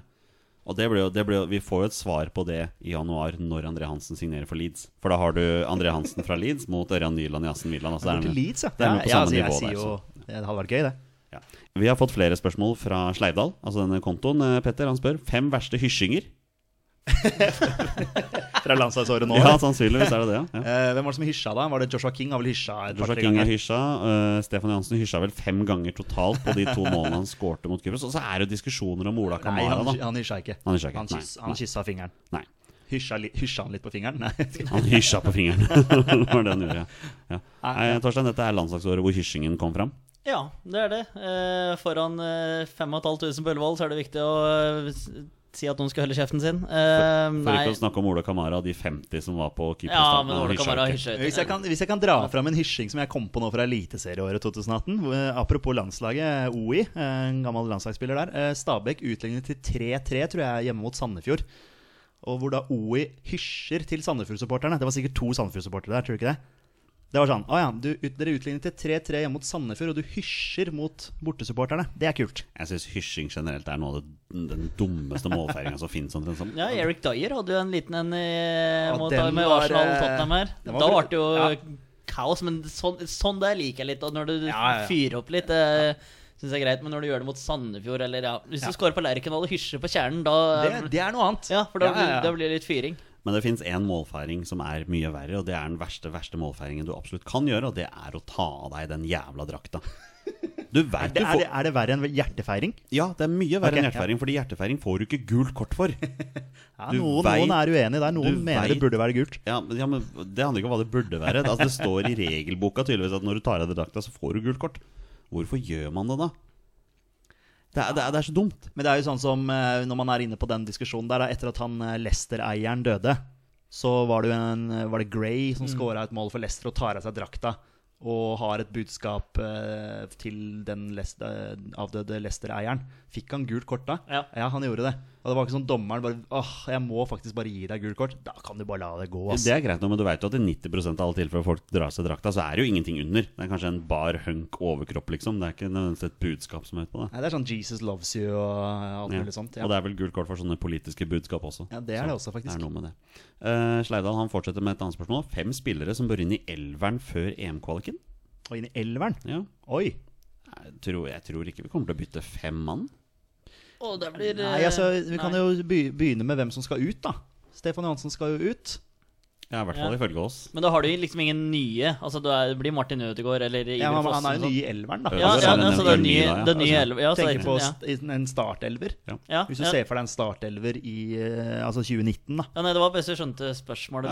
S1: Og det blir jo, det blir jo, vi får jo et svar på det i januar, når André Hansen signerer for Leeds. For da har du André Hansen fra Leeds mot Ørjan Nyland i Aston Milan. Altså, det er
S3: til
S1: med-
S3: Leeds, ja.
S1: det er med på
S3: ja,
S1: samme
S3: altså, jeg
S1: nivå
S3: sier
S1: der,
S3: jo,
S1: så.
S3: Det hadde vært gøy, det.
S1: Ja. Vi har fått flere spørsmål fra Sleivdal, altså denne kontoen. eh, Petter han spør fem verste hysjinger.
S3: Fra landslagsåret nå. altså.
S1: Ja, sannsynligvis er det det. ja. Ja.
S3: Eh, hvem var det som hysja da? Var det Joshua King? Har vel hysja et
S1: Joshua
S3: par-tre
S1: King har
S3: ganger.
S1: hysja. eh, Stefan Johansen hysja vel fem ganger totalt på de to målene han skårte mot Kypros. Og så er det jo diskusjoner om Ola
S3: Nei,
S1: Kamara,
S3: han,
S1: da.
S3: han hysja ikke.
S1: Han hysja ikke,
S3: Han,
S1: nei,
S3: kyss,
S1: nei.
S3: han kyssa fingeren.
S1: Nei.
S3: Hysja, li, hysja han litt på fingeren? Nei. jeg skal-
S1: Han hysja på fingeren. det var det han gjorde, ja. ja. Nei, Torstein, dette er landslagsåret hvor hysjingen kom fram.
S2: Ja, det er det. Eh, foran eh, 5500 på Ullevål så er det viktig å eh, s- si at noen skal holde kjeften sin. Eh,
S1: For
S2: nei.
S1: ikke å snakke om Ola Kamara og de 50 som var på Kypros.
S2: Ja,
S1: da.
S2: men
S1: Han
S2: Ole
S1: hysja
S2: Kamara
S1: ikke.
S2: hysjer
S3: Hvis jeg, kan, hvis jeg kan dra fram en hysjing som jeg kom på nå fra eliteserieåret 2018 hvor- eh, Apropos landslaget, OI, eh, en gammel landslagsspiller der. eh, Stabæk utlignet til 3-3, tror jeg, hjemme mot Sandefjord. Og hvor da OI hysjer til Sandefjord-supporterne. Det var sikkert to Sandefjord-supportere der, tror du ikke det? Det var sånn Å ja, du, ut, dere utlignet til 3-3 hjemme mot Sandefjord, og du hysjer mot bortesupporterne. Det er kult.
S1: Jeg syns hysjing generelt er noe av det, den dummeste målfeiringa som fins. Sånn, sånn.
S2: Ja, Eric Dyer hadde jo en liten en i,
S3: Ja,
S2: mot,
S3: den
S2: med
S3: var,
S2: Arsenal og
S3: eh,
S2: Tottenham her.
S3: den var
S2: da
S3: bra.
S2: ble det jo
S3: Ja.
S2: kaos, men sånn, sånn der liker jeg litt. Og når du
S3: Ja, ja.
S2: fyrer opp litt, det syns jeg er greit. Men når du gjør det mot Sandefjord eller ja Hvis du scorer på Lerkendal og hysjer på kjernen, da
S3: Det, det er noe annet.
S2: Um, Ja, for da,
S3: Ja, ja, ja.
S2: da blir det litt fyring.
S1: Men det fins én målfeiring som er mye verre, og det er den verste verste målfeiringen du absolutt kan gjøre, og det er å ta av deg den jævla drakta. Du veit
S3: Det,
S1: du
S3: er,
S1: får
S3: det, er det verre enn hjertefeiring?
S1: Ja, det er mye verre
S3: Ok,
S1: enn hjertefeiring, fordi hjertefeiring får du ikke gult kort for.
S3: Ja,
S1: Du
S3: noen,
S1: vet-
S3: noen er uenig der.
S1: du
S3: Noen mener det
S1: vet-
S3: burde være gult.
S1: Ja, men, ja, men Det handler ikke om hva det burde være. Altså, det står i regelboka tydeligvis at når du tar av deg drakta, så får du gult kort. Hvorfor gjør man det da? Det er, det er, det er så dumt.
S3: Men det er jo sånn som eh, når man er inne på den diskusjonen der, da, etter at han eh, Leicester-eieren døde, så var det jo en eh, Var det Gray som scora et mål for Leicester og tar av seg drakta? Og har et budskap eh, til den Leicester- eh, avdøde Leicester-eieren. Fikk han gult kort da?
S2: Ja.
S3: han gjorde det. Og det var ikke sånn dommeren bare Åh, jeg må faktisk bare gi deg gult kort. Da kan du bare la det gå, ass.
S1: Det er greit, nå, men du vet jo at i 90 av alle tilfeller folk drar av seg drakta, så er det jo ingenting under. Det er kanskje en bar hunk overkropp, liksom. Det er ikke nødvendigvis et budskap som er ute på det.
S3: Nei, det er sånn Jesus loves you og alt mulig sånt. Ja.
S1: Og det er vel gult kort for sånne politiske budskap også.
S3: Ja, det er det også, faktisk.
S1: Det er noe med det. Eh, Sleidal han fortsetter med et annet spørsmål. Fem spillere som bør inn i elveren før EM-kvaliken?
S3: Og inn i elveren.
S1: Ja.
S3: Oi!
S1: Jeg tror, jeg tror ikke vi kommer til å bytte fem mann.
S2: Og det blir eh,
S3: Nei, altså, Vi kan
S2: nei.
S3: jo be- begynne med hvem som skal ut, da. Stefan Johansen skal jo ut.
S1: Ja, i hvert fall
S2: Ja.
S1: ifølge oss.
S2: Men da har du liksom ingen nye. Altså, du er, det blir Martin Ødegaard eller Iver
S3: Ja, men
S2: Fossen.
S3: han er jo
S2: sånn.
S3: ny i elveren, da.
S1: Ja,
S2: Ja,
S1: Altså,
S2: ja,
S1: er det
S2: altså, det er
S1: en
S2: ny,
S1: ny da, ja.
S2: det er ny
S1: Altså,
S2: elv. Ja, så det er
S3: Tenker på
S2: ikke- ja.
S3: st- i en startelver.
S2: Ja,
S3: Hvis du
S2: ja.
S3: ser for deg en startelver i eh, altså 2019, da.
S2: Ja, nei, det var best jeg skjønte spørsmålet.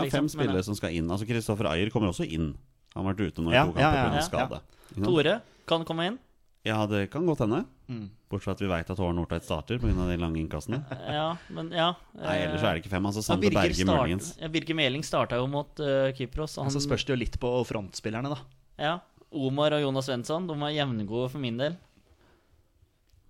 S1: Ja, fem
S3: sånn,
S2: liksom, men,
S1: spillere som skal inn. Altså Kristoffer Ayer kommer også inn. Han har vært ute nå i
S3: Ja,
S1: to
S3: ja,
S1: kamper
S3: ja,
S1: pga.
S3: ja.
S1: skade. Ikke sant?
S2: Tore kan komme inn.
S1: Ja, det kan godt hende.
S3: Mm.
S1: Bortsett fra at vi veit at Håvard Nordtveit starter pga. de lange innkastene.
S2: Ja, men ja. eh,
S1: Nei,
S3: Eh,
S1: ellers er det ikke fem. Altså
S2: Ja,
S1: Sander Berge,
S2: start-
S1: muligens. Altså,
S2: ja, Birger Meling starta jo mot eh, Kypros. og
S3: Men
S2: Han,
S3: så spørs det jo litt på frontspillerne, da.
S2: ja, Omar og Jonas Svensson de er jevngode for min del.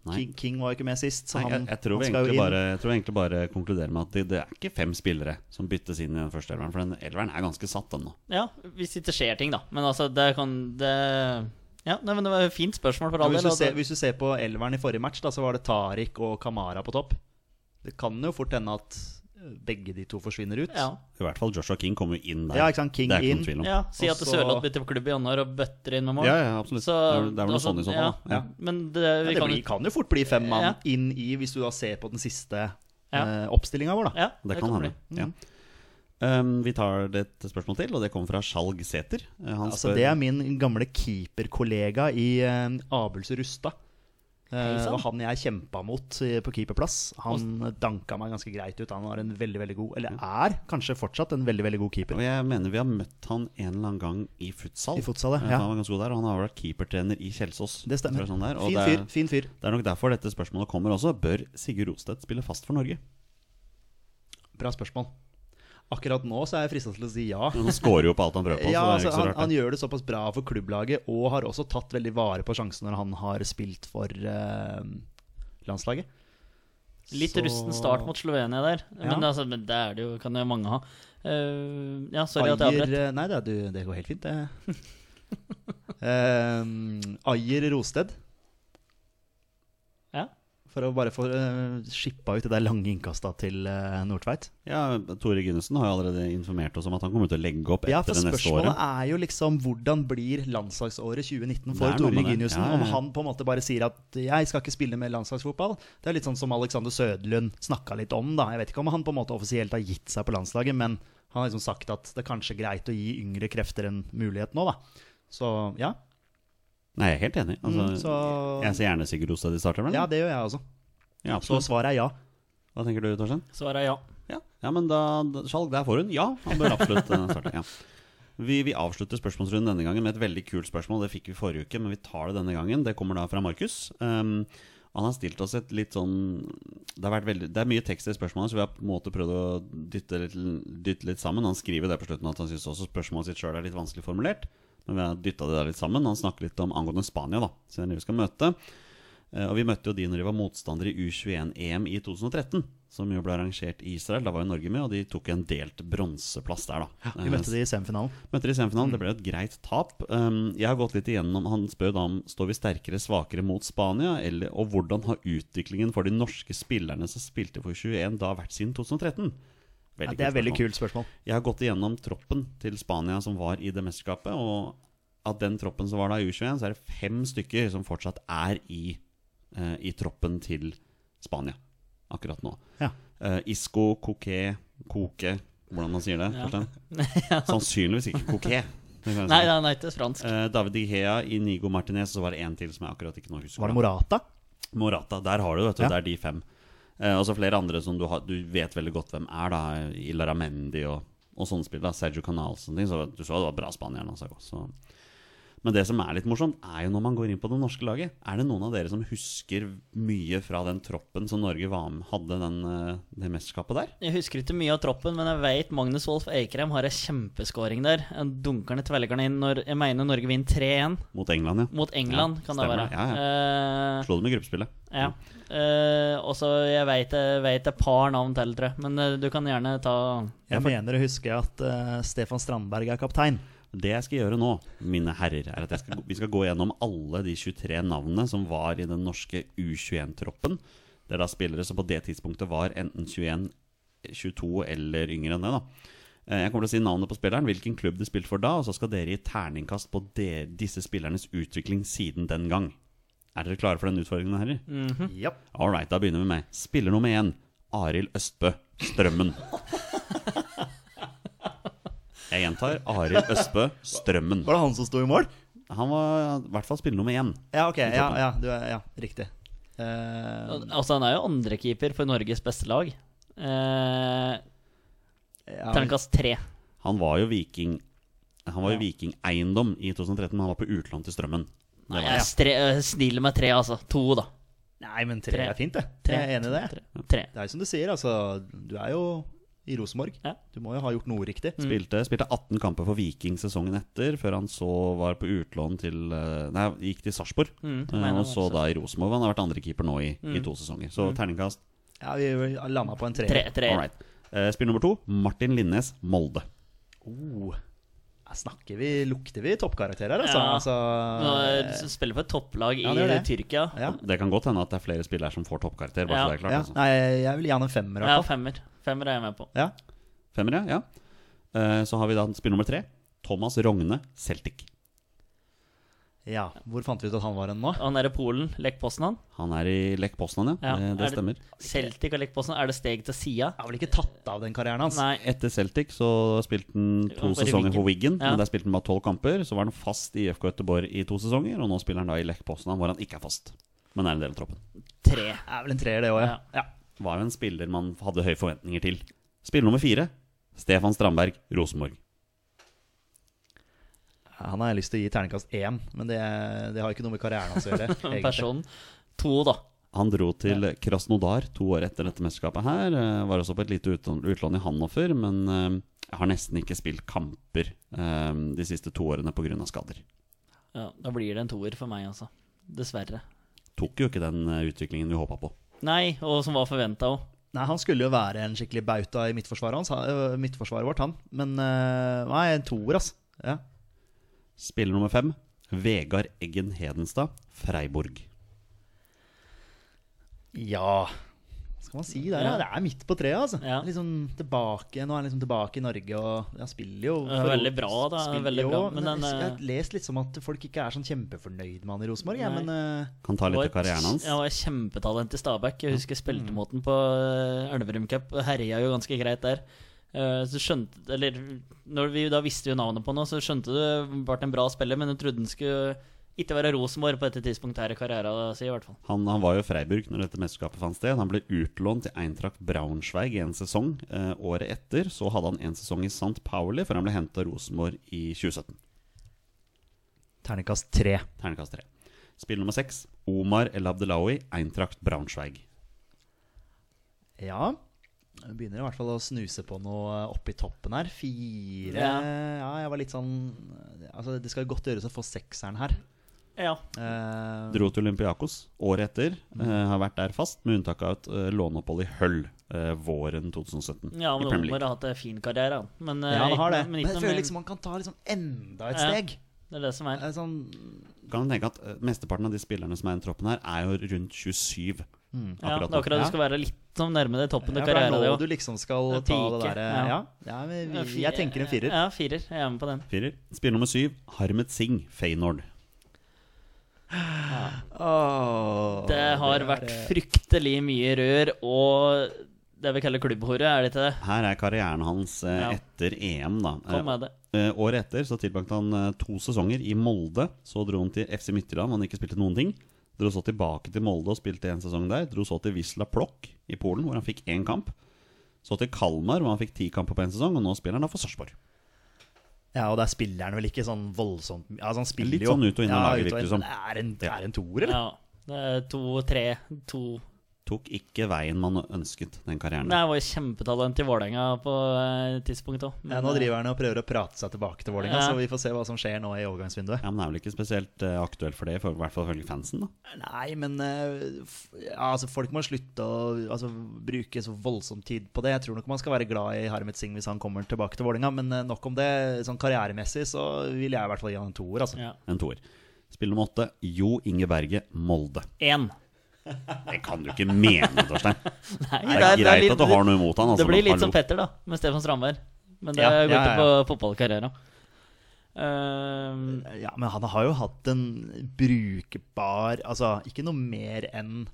S1: Nei.
S3: King, King var jo ikke med sist, så
S1: Nei, jeg,
S3: han,
S1: jeg, tror vi
S3: han
S1: egentlig
S3: inn.
S1: bare, jeg tror vi egentlig bare konkluderer med at det, det er ikke fem spillere som byttes inn i den første elveren, for den elveren er ganske satt ennå.
S2: Ja, hvis ikke skjer ting, da. Men altså, det kan det Ja, nei, men det var et fint spørsmål for
S3: Ja,
S2: all
S3: hvis,
S2: del.
S3: du
S2: og
S3: ser,
S2: det-
S3: hvis du ser på elveren i forrige match, da, så var det Tariq og Kamara på topp. Det kan jo fort hende at eh, begge de to forsvinner ut.
S2: ja,
S1: I hvert fall Joshua King kommer jo inn der.
S3: Ja, ikke sant? King
S1: det er ikke
S3: inn.
S1: noen tvil om.
S2: ja, si
S3: Og
S2: at
S3: så-
S2: Sørloth bytter klubb i januar og bøtter inn med mål.
S1: Ja, ja, absolutt.
S2: Så,
S1: det er vel- det er vel noe
S2: altså,
S1: sånn i så fall. da.
S2: Ja,
S1: Ja.
S2: Men det, vi
S3: det
S2: kan
S3: blir, kan jo fort bli fem mann
S2: Ja.
S3: inn i, hvis du da ser på den siste
S2: Ja.
S3: eh, oppstillinga vår, da.
S2: ja,
S1: Det kan hende.
S2: bli.
S1: Ja.
S3: Mm.
S1: Um, vi tar det et spørsmål til, og det kommer fra Skjalg Sæther. Uh, Han
S3: Altså, det er min gamle keeperkollega i eh, Abels Rustad. Eh,
S2: sann.
S3: og han jeg kjempa mot eh, på keeperplass, han danka meg ganske greit ut. Han var en veldig, veldig god, eller er kanskje fortsatt en veldig, veldig god
S1: Og
S3: keeper.
S1: jeg mener vi har møtt han en eller annen gang i futsal.
S3: I futsal, ja.
S1: Eh, for Han var ganske god der, og han har vært keepertrener i Kjelsås.
S3: Det
S1: tror
S3: stemmer.
S1: jeg Sånn der. Og
S3: Fin
S1: det
S3: fyr.
S1: er,
S3: fin fyr
S1: det er nok derfor dette spørsmålet kommer også. Bør Sigurd Rostedt spille fast for Norge?
S3: Bra spørsmål. Akkurat nå så er jeg frista til å si ja.
S1: Han scorer jo på alt han prøver på. så det
S3: Ja,
S1: er
S3: altså,
S1: jo ikke så
S3: han,
S1: rart.
S3: han
S1: det.
S3: gjør det såpass bra for klubblaget, og har også tatt veldig vare på sjansen når han har spilt for eh, landslaget.
S2: Litt
S3: Så-
S2: rusten start mot Slovenia der. Men,
S3: Ja.
S2: altså, men det er det jo, kan jo mange ha. Eh, ja, sorry at jeg
S3: Ayer
S2: avbrøt.
S3: eh, Nei, det, er du, det går helt fint, det. um, Ayer Rosted.
S2: Ja.
S3: For å bare få eh, skippa ut det der lange innkasta til eh, Nordtveit.
S1: Ja, Tore Gunnesen har jo allerede informert oss om at han kommer til å legge opp etter
S3: Ja, for
S1: det neste
S3: spørsmålet
S1: året.
S3: er jo liksom hvordan blir landslagsåret 2019
S1: Det
S3: for
S1: er noe
S3: Tore
S1: med det.
S3: Reginiussen?
S1: Ja, ja, ja.
S3: Om han på en måte bare sier at 'jeg skal ikke spille mer landslagsfotball'. Det er litt sånn som Alexander Sødlund snakka litt om, da. Jeg vet ikke om han på en måte offisielt har gitt seg på landslaget, men han har liksom sagt at det er kanskje greit å gi yngre krefter en mulighet nå, da. Så ja.
S1: Nei, jeg er helt enig. Altså,
S3: Mm, så-
S1: Jeg ser gjerne Sigurd Rostedt i startelveren.
S3: Ja, det gjør jeg også.
S1: Ja,
S3: Så
S1: absolutt.
S3: svaret er ja.
S1: Hva tenker du, Torstein?
S2: Svaret er ja.
S1: Ja, ja men da, da Skjalg, der får hun. Ja, han bør absolutt eh, starte. Ja. Vi, vi avslutter spørsmålsrunden denne gangen med et veldig kult spørsmål. Det fikk vi forrige uke, men vi tar det denne gangen. Det kommer da fra Markus. Um, han har stilt oss et litt sånn Det, har vært veldig, det er mye tekst i spørsmålet, så vi har på en måte prøvd å dytte litt, dytte litt sammen. Han skriver der på slutten at han syns også spørsmålet sitt sjøl er litt vanskelig formulert. Men vi har dytta det der litt sammen. Han snakker litt om angående Spania, da. Så det er det vi skal møte. Eh, Og vi møtte jo de når de var motstandere i U21-EM i 2013, som jo ble arrangert i Israel. Da var jo Norge med, og de tok en delt bronseplass der, da.
S3: Vi møtte de i semifinalen.
S1: Møtte de i semifinalen. Det ble et greit tap. Um, jeg har gått litt igjennom Han spør da om står vi sterkere, svakere mot Spania, eller, og hvordan har utviklingen for de norske spillerne som spilte for 21 da vært siden 2013?
S3: Ja, det er veldig
S1: spørsmål.
S3: kult spørsmål.
S1: Jeg har gått igjennom troppen til Spania som var i det mesterskapet, og av den troppen som var da i U21, så er det fem stykker som fortsatt er i, eh, i troppen til Spania akkurat nå.
S3: Ja.
S1: Eh, Isco, Coquet, Koke Hvordan man sier det?
S2: Ja.
S1: Torstein? Sannsynligvis ikke Coquet. det kan jeg si.
S2: Nei, han er ikke fransk.
S1: Eh, David Igea, Inigo Martinez, og så var det en til som jeg akkurat ikke nå husker.
S3: Var det Morata?
S1: Morata. Der har du, vet du.
S3: Ja.
S1: Det er de fem. Eh, og så flere andre som du, har, du vet veldig godt hvem er, da. Ilara Mendy og, og sånne spill. da, Sergio Canal og sånne ting. Så du så det var bra spanierne. Altså, så. Men det som er litt morsomt, er jo når man går inn på det norske laget. Er det noen av dere som husker mye fra den troppen som Norge var med, hadde den, eh, det mesterskapet der?
S2: Jeg husker ikke mye av troppen, men jeg vet Magnus Wolff Eikrem har en kjempeskåring der. Han dunker ned tvelgerne inn når jeg mener Norge vinner 3-1
S1: Mot England, ja.
S2: mot England,
S1: Ja,
S2: kan det være.
S1: stemmer det. Ja, Slo dem i gruppespillet.
S2: Eh, ja. Eh, og så jeg vet jeg vet et par navn til, tror jeg. Men eh, du kan gjerne ta
S3: Jeg mener å huske at eh, Stefan Strandberg er kaptein.
S1: Det jeg skal gjøre nå, mine herrer, er at jeg skal, vi skal gå gjennom alle de 23 navnene som var i den norske U21-troppen. Det er da spillere som på det tidspunktet var enten 21, 22 eller yngre enn det. da. Eh, Jeg kommer til å si navnet på spilleren, hvilken klubb de spilte for da, og så skal dere gi terningkast på de, disse spillernes utvikling siden den gang. Er dere klare for den utfordringen, herrer?
S3: Ja.
S1: All right, da begynner vi med spiller nummer én. Arild Østbø Strømmen. Jeg gjentar Arild Østbø Strømmen.
S3: Var det han som sto i mål?
S1: Han var i hvert fall spiller nummer én.
S3: Ja, ok. Ja, ja, du er, ja riktig. Eh,
S2: Altså, han er jo andrekeeper for Norges beste lag. Eh,
S3: ja,
S2: Terningkast tre.
S1: Han var jo Viking Han var jo Viking Eiendom i 2013, men han var på utlån til Strømmen.
S2: Nei,
S1: Det var
S2: jeg stre jeg sniler med tre, altså. To, da.
S3: Nei, men tre
S2: Tre.
S3: er fint, det.
S2: Tre,
S3: Jeg er enig i det.
S2: Tre. tre.
S3: Det er jo som du sier, altså. Du er jo i Rosenborg.
S2: Ja. Mm.
S3: Du må jo ha gjort noe riktig.
S1: Spilte, spilte 18 kamper for Viking sesongen etter, før han så var på utlån til eh, Nei, gikk til Sarpsborg,
S2: Mm,
S1: eh,
S2: mener Mm.
S1: og
S2: det,
S1: så
S2: så.
S1: da i Rosenborg. Han har vært andrekeeper nå i, i to sesonger. Så terningkast,
S3: Ja, vi landa på en tre.
S2: Tre, tre.
S1: all right. Eh, Spill nummer to, Martin Linnes, Molde.
S3: Oh. Her snakker vi Lukter vi toppkarakter her, altså?
S2: Ja. Nå, eh,
S3: altså
S2: liksom spiller for et topplag i
S3: Ja, det er det.
S2: Tyrkia. Ja,
S3: ja.
S1: Det kan godt hende at det er flere spillere som får toppkarakter. Bare
S2: Ja.
S1: så det er klart
S3: Ja.
S1: altså.
S3: Nei, jeg vil gi han en femmer, i hvert fall.
S2: femmer. Femmer er jeg med på.
S3: Ja.
S1: Femmer, ja. ja. Eh, Så har vi da spill nummer tre. Thomas Rogne, Celtic.
S3: ja. Hvor fant vi ut at han var hen nå?
S2: Og Han er i Polen, Lech Poznan.
S1: Han er i Lech Poznan, ja.
S2: Ja,
S1: Eh,
S2: er
S1: Det stemmer.
S2: Celtic og Lech Poznan, er det steg til sida?
S3: Jeg har vel ikke tatt av den karrieren hans?
S2: Nei.
S1: Etter Celtic så spilte han to
S2: Han var i
S1: sesonger for
S2: Wigan.
S1: Wiggen.
S2: Ja.
S1: Men der spilte han bare tolv kamper. Så var han fast i IFK Göteborg i to sesonger, og nå spiller han da i Lech Poznan, hvor han ikke er fast. Men er en del av troppen.
S2: Tre.
S3: Det er vel en treer, det òg, ja. ja.
S1: Var jo en spiller man hadde høye forventninger til. Spiller nummer fire, Stefan Strandberg, Rosenborg.
S3: Han har jeg lyst til å gi terningkast én, men det, det har ikke noe med karrieren hans å gjøre. egentlig.
S2: Personen. To, da.
S1: Han dro til Krasnodar to år etter dette mesterskapet her. eh, Var også på et lite utlån, utlån i Hannover, men eh, har nesten ikke spilt kamper eh, de siste to årene pga. skader.
S2: Ja, da blir det en toer for meg, altså. Dessverre.
S1: Tok jo ikke den eh, utviklingen vi håpa på.
S2: Nei, og som var forventa òg.
S3: Nei, Han skulle jo være en skikkelig bauta i midtforsvaret, hans, øh, midtforsvaret vårt, han. Men øh, nei, en toer, altså. Ja.
S1: Spiller nummer fem, Vegard Eggen Hedenstad, Freiburg.
S3: ja. Hva skal man si der? Ja.
S2: Ja.
S3: Det er midt på treet, altså.
S2: Ja.
S3: Liksom tilbake, Nå er han liksom tilbake i Norge og han spiller jo
S2: Ja,
S3: for-
S2: veldig bra, da.
S3: spiller
S2: Veldig
S3: jo,
S2: bra, men
S3: jeg-
S2: den,
S3: jeg
S2: øh,
S3: har lest litt som at folk ikke er sånn kjempefornøyd med han i Rosenborg, jeg,
S2: Nei.
S3: men øh,
S1: Kan ta litt
S2: var
S1: av karrieren hans. Mm.
S2: Ja, var et kjempetalent i Stabæk. Jeg husker speltemåten på eh, Elverum Cup. Herja jo ganske greit der. Eh, Så skjønte Eller når vi da visste jo navnet på noe, så skjønte du ble en bra spiller, men du trodde han skulle ikke være Rosenborg på dette tidspunktet her i karrieren sin, i hvert fall.
S1: Han, han var jo i Freiburg når dette mesterskapet fant sted. Han ble utlånt til Eintracht Braunschweig i en sesong. Eh, året etter så hadde han en sesong i St. Pauli før han ble henta Rosenborg i 2017.
S3: Ternekast tre.
S1: Ternekast tre. Spill nummer seks. Omar El Abdelawi, Eintracht Braunschweig.
S3: Ja. Jeg begynner i hvert fall å snuse på noe oppi toppen her. Fire Ja,
S2: Ja.
S3: jeg var litt sånn Altså, det skal jo godt gjøres å få sekseren her.
S2: Ja.
S3: Eh,
S1: Dro til Olympiakos året etter.
S2: Mhm.
S1: Eh, har vært der fast, med unntak av et eh, låneopphold i Høll eh, våren 2017.
S2: ja
S1: i
S2: men
S1: Premier
S2: Omar
S1: League.
S2: har hatt en fin karriere, han. Men, eh,
S3: ja, han har det.
S2: ikke-
S3: Men,
S2: ikke
S3: jeg
S2: noe
S3: føler
S2: mer-
S3: liksom man kan ta liksom enda et
S2: Ja.
S3: steg.
S2: Det er det som er.
S3: Eh, Sånn,
S1: Kan man tenke at eh, Mesteparten av de spillerne som er i den troppen her, er jo rundt 27.
S2: Mm. Ja,
S1: akkurat
S2: det er
S1: nå.
S2: akkurat
S3: Ja.
S2: du skal være litt som nærme deg toppen
S3: ja,
S2: av
S3: for det er
S2: karrieren.
S3: nå
S2: det
S3: du
S2: jo.
S3: liksom skal
S2: Det er
S3: ta det
S2: pike,
S3: derre
S2: ja.
S3: ja. ja, men vi, Jeg tenker en firer.
S2: Ja, firer. Jeg er med på den.
S1: Firer. Spill nummer syv. Harmet Singh, Feyenoord.
S3: Åh,
S2: Det har vært fryktelig mye rør og det vi kaller klubbhore, er det ikke det?
S1: Her er karrieren hans eh,
S2: Ja.
S1: etter EM, da. Eh,
S2: Kom med det.
S1: Eh, året etter så tilbrakte han eh, to sesonger i Molde. Så dro han til FC Midtjylland, hvor han ikke spilte noen ting. Dro så tilbake til Molde og spilte en sesong der. Dro så til Wisla Plock i Polen, hvor han fikk én kamp. Så til Kalmar, hvor han fikk ti kamper på én sesong, og nå spiller han da for Sarpsborg.
S3: Ja, og der spiller han vel ikke sånn voldsomt Altså, han spiller
S1: Litt
S3: jo
S1: sånn ut og inn av
S3: Ja,
S1: laget,
S3: ut og
S1: virker det
S3: inn.
S1: som.
S3: Det er en, det
S1: Ja.
S3: er en toer, eller?
S2: Ja. Det er to, tre, to
S1: Tok ikke veien man ønsket den karrieren.
S2: Nei, jeg var jo kjempetalent i Vålerenga på eh, et tidspunkt òg.
S3: Ja, nå driver han og prøver å prate seg tilbake til Vålerenga,
S2: Ja.
S3: så vi får se hva som skjer nå i overgangsvinduet.
S1: Ja, men er vel ikke spesielt eh, aktuell for det, for, i hvert fall ifølge fansen, da.
S3: Nei, men eh, f- ja, altså, folk må slutte å altså, bruke så voldsom tid på det. Jeg tror nok man skal være glad i Harmet Singh hvis han kommer tilbake til Vålerenga, men eh, nok om det. Sånn karrieremessig så vil jeg i hvert fall gi han en toer, altså.
S2: eh, Ja.
S1: En toer. Spill nummer åtte. Jo Inge Berge, Molde.
S2: Én.
S1: Det kan du ikke mene, Torstein.
S2: Nei,
S1: Det er greit at du har noe imot han.
S2: det
S1: altså,
S2: blir
S1: men
S2: litt sånn som
S1: hallo.
S2: Petter, da, med Stefan Strandberg. Men det
S3: Ja,
S2: går
S3: ja,
S2: ikke
S3: ja,
S2: på fotballkarrieren. Eh,
S3: Ja, men han har jo hatt en brukbar Altså, ikke noe mer enn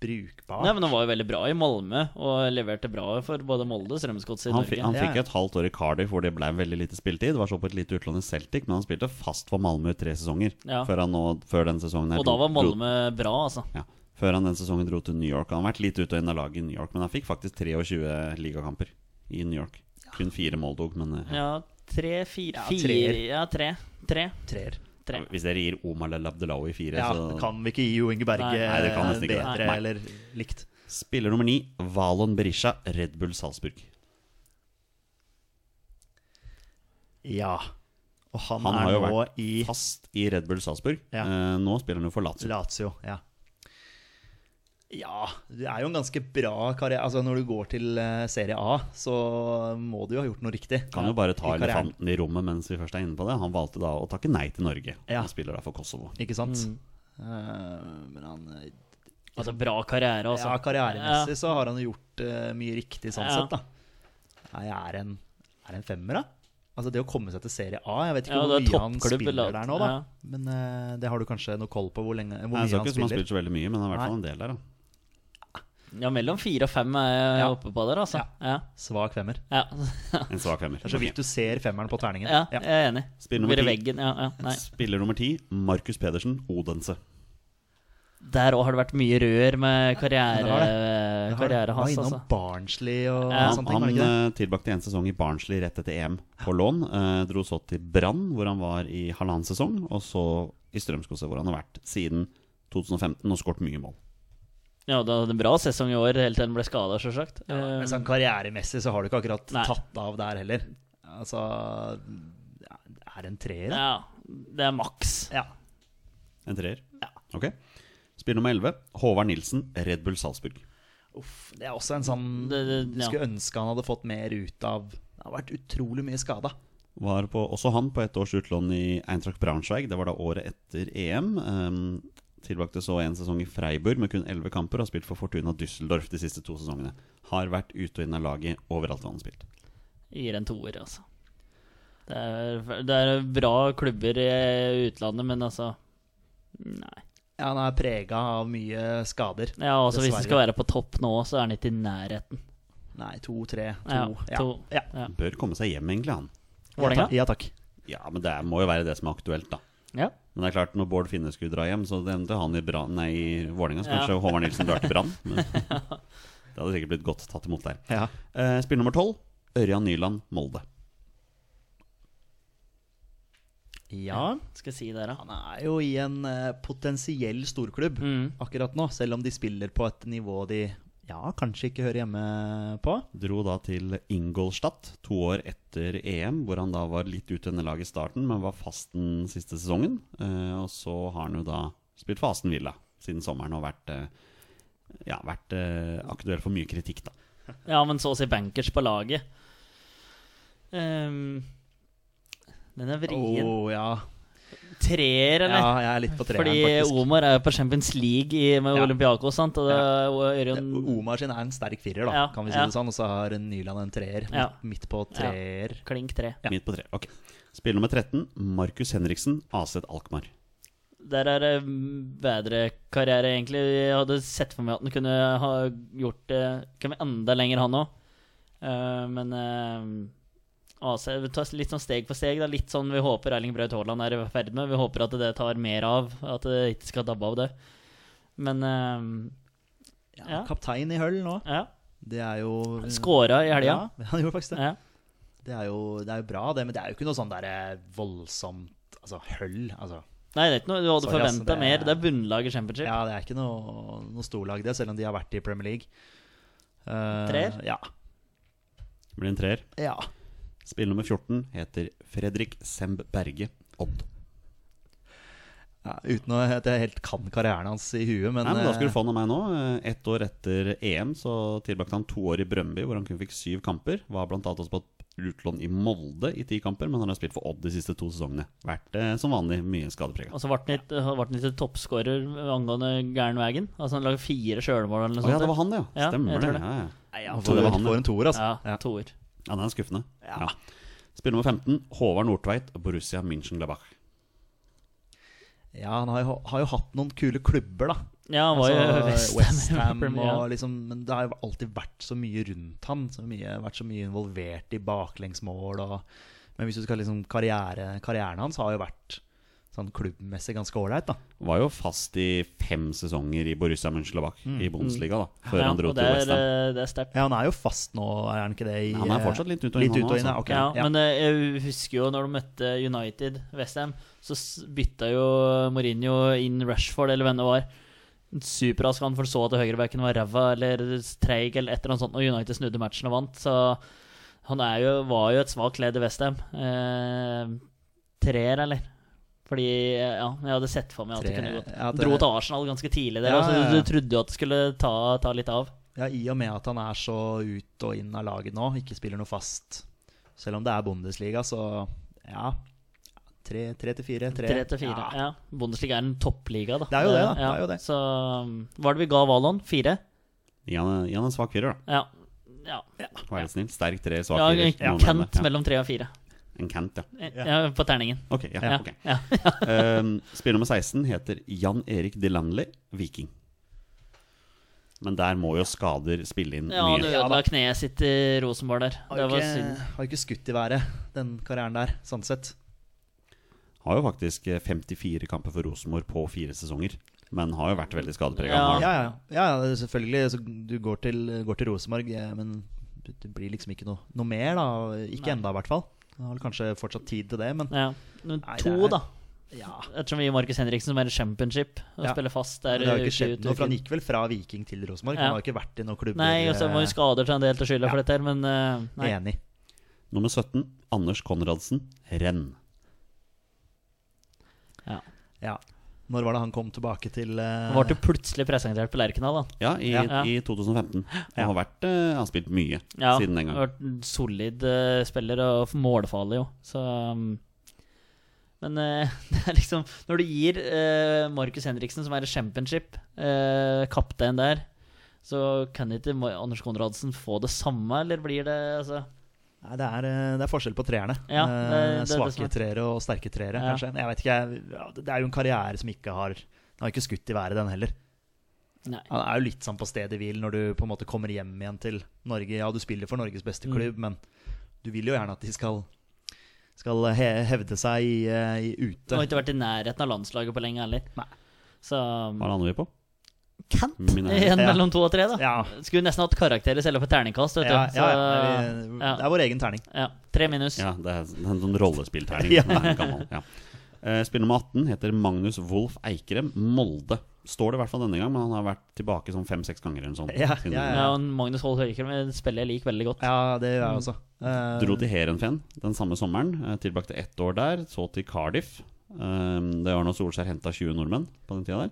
S3: brukbar.
S2: Nei, men Han var jo veldig bra i Malmö, og leverte bra for både Molde og Strømsgodset i
S1: Han, fi-
S2: Norge.
S1: han
S3: Ja,
S1: fikk
S3: ja.
S1: et halvt år i Cardiff hvor det ble veldig lite spilletid. Var så på et lite utlån i Celtic, men han spilte fast for Malmö i tre sesonger.
S2: Ja.
S1: Før, han nå, før den sesongen her
S2: Og da
S1: dro-
S2: var
S1: dro-
S2: Malmö bra, altså.
S1: ja, Før han den sesongen dro til New York. Han har vært litt ute og inn av laget i New York, men han fikk faktisk 23 ligakamper i New York. Kun fire mål tok, men eh,
S2: Ja, tre, fire
S3: Ja,
S2: Fire,
S3: treer.
S2: ja, tre. Tre.
S3: Treer.
S2: Tre.
S1: Hvis dere gir Omar El Abdelawi fire,
S3: Ja,
S1: så
S3: kan vi ikke gi Jo Inge Berge
S2: Nei.
S1: Nei, det kan nesten ikke det.
S3: bedre
S1: Nei.
S3: eller likt.
S1: Spiller nummer ni, Valon Berisha, Red Bull Salzburg.
S3: Ja. Og han,
S1: Han har
S3: er
S1: jo
S3: nå
S1: vært
S3: i
S1: fast i Red Bull Salzburg.
S3: Ja.
S1: Eh, nå spiller han jo for Lazio.
S3: Lazio. Ja. ja, det er jo en ganske bra karriere. Altså, når du går til eh, Serie A, så må du jo ha gjort noe riktig.
S1: Kan jo bare ta
S3: I karrieren.
S1: elefanten i rommet mens vi først er inne på det. Han valgte da å takke nei til Norge.
S3: Ja.
S1: Han spiller da for Kosovo.
S3: Ikke sant? Eh, men han eh,
S2: Altså, bra karriere, altså.
S3: Ja, karrieremessig så har han jo gjort eh, mye riktig sånn
S2: Ja.
S3: sett, da. Nei, jeg er en, er en femmer, da. Altså det å komme seg til serie A Jeg vet ikke
S2: Ja,
S3: hvor
S2: det er
S3: mye han
S2: toppklubb,
S3: spiller
S2: eller-
S3: der nå, da.
S2: ja.
S3: Men eh, det har du kanskje noe koll på hvor, lenge, hvor
S1: Nei, jeg
S3: mye
S1: så
S3: han
S1: ikke ut som han
S3: spiller?
S1: spilte så veldig mye, men han er i hvert
S3: Nei.
S1: fall en del der. Da.
S2: Ja, mellom fire og fem er jeg
S3: Ja.
S2: oppe på der, altså. Ja.
S3: Svak femmer.
S2: Ja.
S1: En svak femmer.
S3: Det er så vidt du ser femmeren på terningen.
S2: ja, jeg er enig.
S1: Spinn nummer
S2: Blir det
S1: ti.
S2: veggen? Ja, ja. Nei.
S1: Spiller nummer ti, Markus Pedersen, Odense.
S2: Der òg har det vært mye rør med
S3: det
S2: karriere,
S3: har det.
S2: eh,
S3: Det har-
S2: karriere
S3: var
S2: hans,
S3: innom
S2: altså.
S3: Barnsley og
S2: Ja.
S1: Han,
S3: sånne ting, var det
S1: han
S3: ikke det?
S1: eh, tilbrakte en sesong i Barnsley rett etter EM på lån. Eh, dro så til Brann, hvor han var i halvannen sesong, og så i Strømskose, hvor han har vært siden 2015 og skåret mye mål.
S2: Ja, det hadde en bra sesong i år, helt til han ble skada, sjølsagt. Eh,
S3: Ja, men sånn karrieremessig så har du ikke akkurat
S2: Nei.
S3: tatt av der heller. Altså ja, det Er en treer, da?
S2: Ja, det er maks.
S3: Ja.
S1: En treer? Ok. Spiller nummer 11, Håvard Nilsen, Red Bull Salzburg.
S3: Uff, det er også en sånn
S2: Det, det,
S3: Du
S2: ja.
S3: skulle ønske han hadde fått mer ut av Det har vært utrolig mye skada.
S1: Var på, også han på ett års utlån i Eintracht Braunschweig. Det var da året etter EM. Ehm, tilbrakte så en sesong i Freiburg med kun elleve kamper og har spilt for Fortuna Düsseldorf de siste to sesongene. Har vært ute og inn av laget overalt hvor han har spilt.
S2: Gir en toer, altså. Det er, det er bra klubber i utlandet, men altså Nei.
S3: Ja, han er prega av mye skader.
S2: Ja, altså Hvis
S3: Dessverre.
S2: det skal være på topp nå, så er han ikke i nærheten.
S3: Nei, to, tre, to.
S2: Ja, to.
S3: Ja.
S2: Ja.
S1: Bør komme seg hjem, egentlig, han.
S3: Ja,
S2: Vålerenga?
S3: takk. Ja, takk.
S1: Ja, men det er- må jo være det som er aktuelt, da.
S2: Ja.
S1: Men det er klart, når Bård Finne skulle dra hjem, så det endte han i, Brann- nei, i Vålerenga. Så
S2: Ja.
S1: kanskje Håvard Nilsen drar til Brann. Men det hadde sikkert blitt godt tatt imot der.
S3: Ja.
S1: Eh, Spill nummer tolv, Ørjan Nyland, Molde.
S3: ja.
S2: Skal jeg si der, da.
S3: Han er jo i en eh, potensiell storklubb
S2: Mm.
S3: akkurat nå, selv om de spiller på et nivå de ja, kanskje ikke hører hjemme på.
S1: Dro da til Ingolstadt to år etter EM, hvor han da var litt ute under laget i starten, men var fast den siste sesongen. Eh, og så har han jo da spilt for Aston Villa siden sommeren og vært, eh, ja, vært eh, aktuell for mye kritikk, da.
S2: Ja, men så å si bankers på laget. Ehm, den er vrien.
S3: Åh, Oh, ja.
S2: Treer,
S3: ja,
S2: eller?
S3: jeg er litt på treeren,
S2: Fordi
S3: faktisk.
S2: Omar er jo på Champions League i- med
S3: Ja.
S2: Olympiakos, sant? Og det er jo Ørjan
S3: Omar sin er en sterk firer, da,
S2: Ja,
S3: kan vi si
S2: ja.
S3: det sånn. Og så har Nyland en treer.
S2: Ja.
S3: Midt, midt på treer.
S2: klink tre.
S1: Midt på tre. Ok. Spill nummer 13, Markus Henriksen, AZ Alkmaar.
S2: Der er det bedre karriere, egentlig. Jeg hadde sett for meg at han kunne ha gjort det Kunne vært enda lenger, han òg. men eh, AC vi tar litt sånn steg for steg. Da. Litt sånn vi håper Erling Braut Haaland er i ferd med. Vi håper at det tar mer av. At det ikke skal dabbe av det. Men
S3: Ja. Kaptein i høll nå.
S2: eh, ja.
S3: Det er jo
S2: Skåra i helga.
S3: Ja, han gjorde faktisk det.
S2: Ja.
S3: Det, er jo, det er jo bra, det, men det er jo ikke noe sånn der eh, voldsomt altså, høll. Altså.
S2: Nei, det er ikke noe du hadde
S3: Sorry,
S1: altså,
S3: ass,
S2: forventa
S3: det-
S2: mer. Det er bunnlaget i Championship.
S3: Ja, det er ikke noe, noe storlag, det, selv om de har vært i Premier League. Eh,
S2: Treer?
S3: Ja.
S1: Det Blir en treer.
S3: ja.
S1: Spill nummer 14 heter Fredrik Semb Berge, Odd.
S3: ja. Uten å- at jeg helt kan karrieren hans i huet, men,
S1: Nei, men Da skal
S3: eh,
S1: du få den av meg nå. Eh, Ett år etter EM så tilbrakte han to år i Brøndby, hvor han kun fikk syv kamper. Var blant annet også på et utlån i Molde i ti kamper, men han har spilt for Odd de siste to sesongene. Vært eh, som vanlig mye skadeprega.
S2: Og så ble han litt, ble han litt toppskårer angående Gernwagen. Altså han lagde fire sjølmål eller
S1: Å
S2: noe
S1: ja, det
S2: sånt.
S1: var han, det, ja.
S2: Sånn Ja, jeg
S1: Stemmer
S2: tror
S1: det.
S2: det.
S1: Ja, ja.
S3: han
S1: så det var
S3: får,
S1: han, ja.
S3: får en toer, altså.
S2: ja,
S3: Ja.
S2: toer.
S1: ja, den er skuffende. Ja. Spill nummer 15, Håvard Nordtveit, Borussia München-Glabach.
S3: Ja, han har jo, har jo hatt noen kule klubber, da.
S2: Ja, han var jo
S3: Altså, West Ham
S2: Premier League, ja.
S3: og liksom Men det har jo alltid vært så mye rundt han. Så mye, vært så mye involvert i baklengsmål og Men hvis du skal liksom karriere, karrieren hans har jo vært sånn klubbmessig ganske ålreit, da.
S1: Var jo fast i fem sesonger i Borussia Mönchengladbach i Bundesliga, da. Før
S2: Mm. Ja,
S1: han dro
S2: og det
S1: til
S2: er,
S1: Westham.
S2: eh, det er sterkt.
S3: Ja, han er jo fast nå, er han ikke det? I, eh,
S1: Han er fortsatt litt ut og inn,
S3: Litt ut og
S1: han,
S3: inn, ja.
S1: altså.
S3: ok.
S2: ja,
S3: ja.
S2: Men eh, jeg husker jo når de møtte United, Westham, så s- bytta jo Mourinho inn Rashford, eller hvem det var. Superrask han forså at høyrebacken var ræva eller treig eller et eller annet sånt, og United snudde matchen og vant, så han er jo, var jo et svakt ledd i Westham. Eh, treer, eller? Fordi eh, ja, jeg hadde sett for meg at det
S3: Tre-
S2: kunne gått.
S3: ja, det-
S2: Dro til Arsenal ganske tidlig der,
S3: Ja,
S2: og
S3: ja,
S2: så
S3: ja.
S2: du trodde jo at det skulle ta, ta litt av.
S3: ja, I og med at han er så ut og inn av laget nå, ikke spiller noe fast. Selv om det er Bundesliga, så ja. Tre tre til fire. Tre
S2: Tre til fire. Ja. Bundesliga er en toppliga, da.
S3: Det er jo det, da. Det er jo det.
S2: Så um, hva er det vi ga Valon? Fire?
S1: Gi han gi han en svak firer, da.
S2: Ja. ja.
S1: Vær litt snill. Sterk tre, svak
S2: ja
S1: firer.
S2: en
S1: Noe med
S2: Kent
S1: det. Ja.
S2: mellom tre og fire.
S1: En Kent, ja.
S2: Ja, på terningen.
S1: Ok, ja,
S2: Ja.
S1: ok.
S2: Ja.
S1: Ehm, spiller nummer 16 heter Jan Erik Delanley, Viking. Men der må jo skader spille inn
S2: ja,
S1: mye.
S2: du ødela kneet sitt i Rosenborg der.
S3: Har
S2: Det
S3: jo
S2: var
S3: ikke,
S2: synd.
S3: har jo ikke skutt i været, den karrieren der, sånn sett.
S1: Har jo faktisk eh, 54 kamper for Rosenborg på fire sesonger. Men har jo vært veldig skadeprega.
S2: Ja.
S1: Han
S3: Ja,
S1: har-
S3: ja, ja ja, selvfølgelig. Så du går til, går til Rosenborg, eh, men det blir liksom ikke noe, noe mer, da. Ikke
S2: Nei.
S3: enda, i hvert fall. Du har vel kanskje fortsatt tid til det, men
S2: Ja. Men
S3: Nei, det
S2: to,
S3: er-
S2: da.
S3: ja.
S2: Ettersom vi gir Markus Henriksen, som er i championship, og
S3: Ja.
S2: spiller fast
S3: Men
S2: der.
S3: det har jo
S2: uke eh,
S3: ikke
S2: ut,
S3: skjedd noe,
S2: uke
S3: for han
S2: inn.
S3: gikk vel fra Viking til Rosenborg.
S2: Ja.
S3: Han har jo ikke vært i noen klubber.
S2: Nei, og så var jo
S3: eh,
S2: skader til en del til skylda for dette her, men uh, nei.
S3: Enig.
S1: Nummer 17, Anders Konradsen, renn.
S2: Ja.
S3: Ja. Når var det han kom tilbake til eh,
S2: Han ble jo plutselig presentert på Lerkendal, da.
S1: Ja, i,
S2: Ja.
S1: i 2015. Han har, vært, eh, han har spilt mye
S2: Ja,
S1: siden den gang.
S2: har vært en solid eh, spiller og målfarlig jo. Så, um, men eh, det er liksom Når du gir eh, Markus Henriksen, som er i championship, uh, kaptein der, så kan ikke Ma- Anders Konradsen få det samme, eller blir det altså,
S3: Nei, det er, eh, det er forskjell på treerne.
S2: Ja,
S3: Eh,
S2: det- det er det som
S3: Svake
S2: er-
S3: treere og sterke treere,
S2: Ja.
S3: kanskje. Jeg vet ikke, jeg, ja, det- Det er jo en karriere som ikke har Den har ikke skutt i været, den heller.
S2: Nei.
S3: Han er jo litt sånn på stedet hvil når du på en måte kommer hjem igjen til Norge. Ja, du spiller for Norges beste
S2: Mm.
S3: klubb, men du vil jo gjerne at de skal, skal he- hevde seg i, eh, i
S2: Du
S3: ute.
S2: har ikke vært i nærheten av landslaget på lenge heller.
S3: Nei.
S2: Så
S1: Hva lander vi på?
S2: Kent
S1: Min ære.
S2: igjen
S3: Ja.
S2: mellom to og tre, da.
S3: Ja,
S2: Skulle nesten hatt karakter i stedet for terningkast.
S3: ja,
S2: Vet du.
S3: ja,
S2: Så,
S3: ja, vi,
S2: ja.
S3: Det er vår egen terning.
S2: ja. Tre minus.
S1: Ja, det er en sånn rollespillterning.
S3: Ja.
S1: Den er gammel, ja. Eh, Spiller nummer 18 heter Magnus Wolff Eikrem, Molde. Står det i hvert fall denne gang, men han har vært tilbake sånn fem-seks ganger eller noe sånt.
S3: Ja,
S1: siden
S3: ja,
S1: den gang.
S2: Ja, og Magnus Holt Høykrem spiller jeg lik veldig godt.
S3: Ja, det gjør
S2: Mm.
S3: jeg også. Eh,
S1: Dro til Heerenveen den samme sommeren. eh, Tilbrakte ett år der, så til Cardiff. Um, Det var når Solskjær henta 20 nordmenn på den tida der.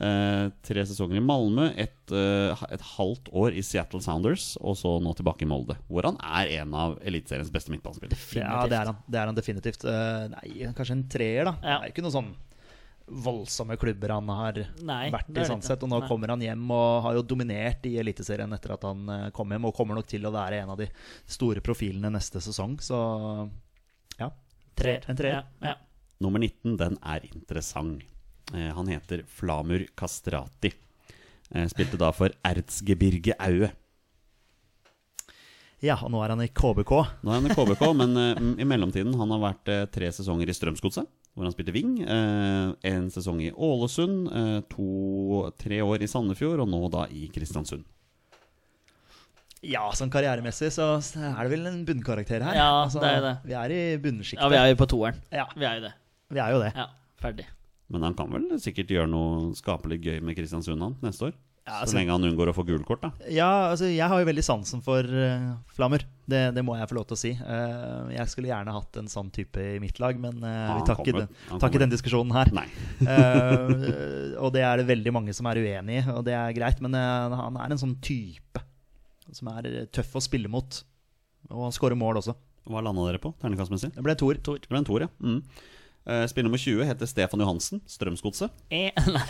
S1: Eh, tre sesonger i Malmö, et, eh, et halvt år i Seattle Sounders, og så nå tilbake i Molde. Hvor han er en av eliteseriens beste midtbanespillere.
S3: ja, det er han. Det er han definitivt. Eh, nei, kanskje en treer, da.
S2: Ja.
S3: Det er jo ikke noen sånn voldsomme klubber han har
S2: Nei,
S3: vært
S2: det
S3: i,
S2: er det
S3: sånn
S2: ikke.
S3: sett. Og nå
S2: Nei.
S3: kommer han hjem og har jo dominert i Eliteserien etter at han eh, kom hjem, og kommer nok til å være en av de store profilene neste sesong, så ja.
S2: Treer.
S3: En treer.
S2: Ja, ja.
S1: Nummer 19, den er interessant. Eh, Han heter Flamur Kastrati. Eh, Spilte da for Erzgebirge Aue.
S3: ja, og nå er han i KBK.
S1: Nå er han i KBK, men eh, m- i mellomtiden han har vært eh, tre sesonger i Strømsgodset, hvor han spilte wing. eh, en sesong i Ålesund, eh, to, tre år i Sandefjord, og nå da i Kristiansund.
S3: Ja, sånn karrieremessig så er det vel en bunnkarakter her. Altså,
S2: Ja, det er det.
S3: Vi er i bunnsjiktet.
S2: ja, vi er jo på toeren.
S3: Ja,
S2: Vi er jo det.
S3: vi er jo det.
S2: Ja, ferdig.
S1: Men han kan vel sikkert gjøre noe skapelig gøy med Kristiansund han, neste år?
S3: Ja,
S1: så
S3: altså,
S1: lenge han unngår å få gult kort, da.
S3: Ja, altså jeg har jo veldig sansen for eh, flammer. Det, det må jeg få lov til å si. Eh, jeg skulle gjerne hatt en sånn type i mitt lag, men eh,
S1: Han
S3: vi tar ikke
S1: kommer.
S3: den,
S1: Han
S3: tar ikke
S1: kommer.
S3: den diskusjonen her.
S1: Nei.
S3: Eh, og det er det veldig mange som er uenig i, og det er greit. Men eh, han er en sånn type som er eh, tøff å spille mot. Og han skårer mål også.
S1: Hva landa dere på terningkastmessig?
S3: Det ble en toer.
S1: Det ble en toer, ja. Mm. Eh, Spiller nummer 20 heter Stefan Johansen, Strømsgodset.
S2: Eh, nei.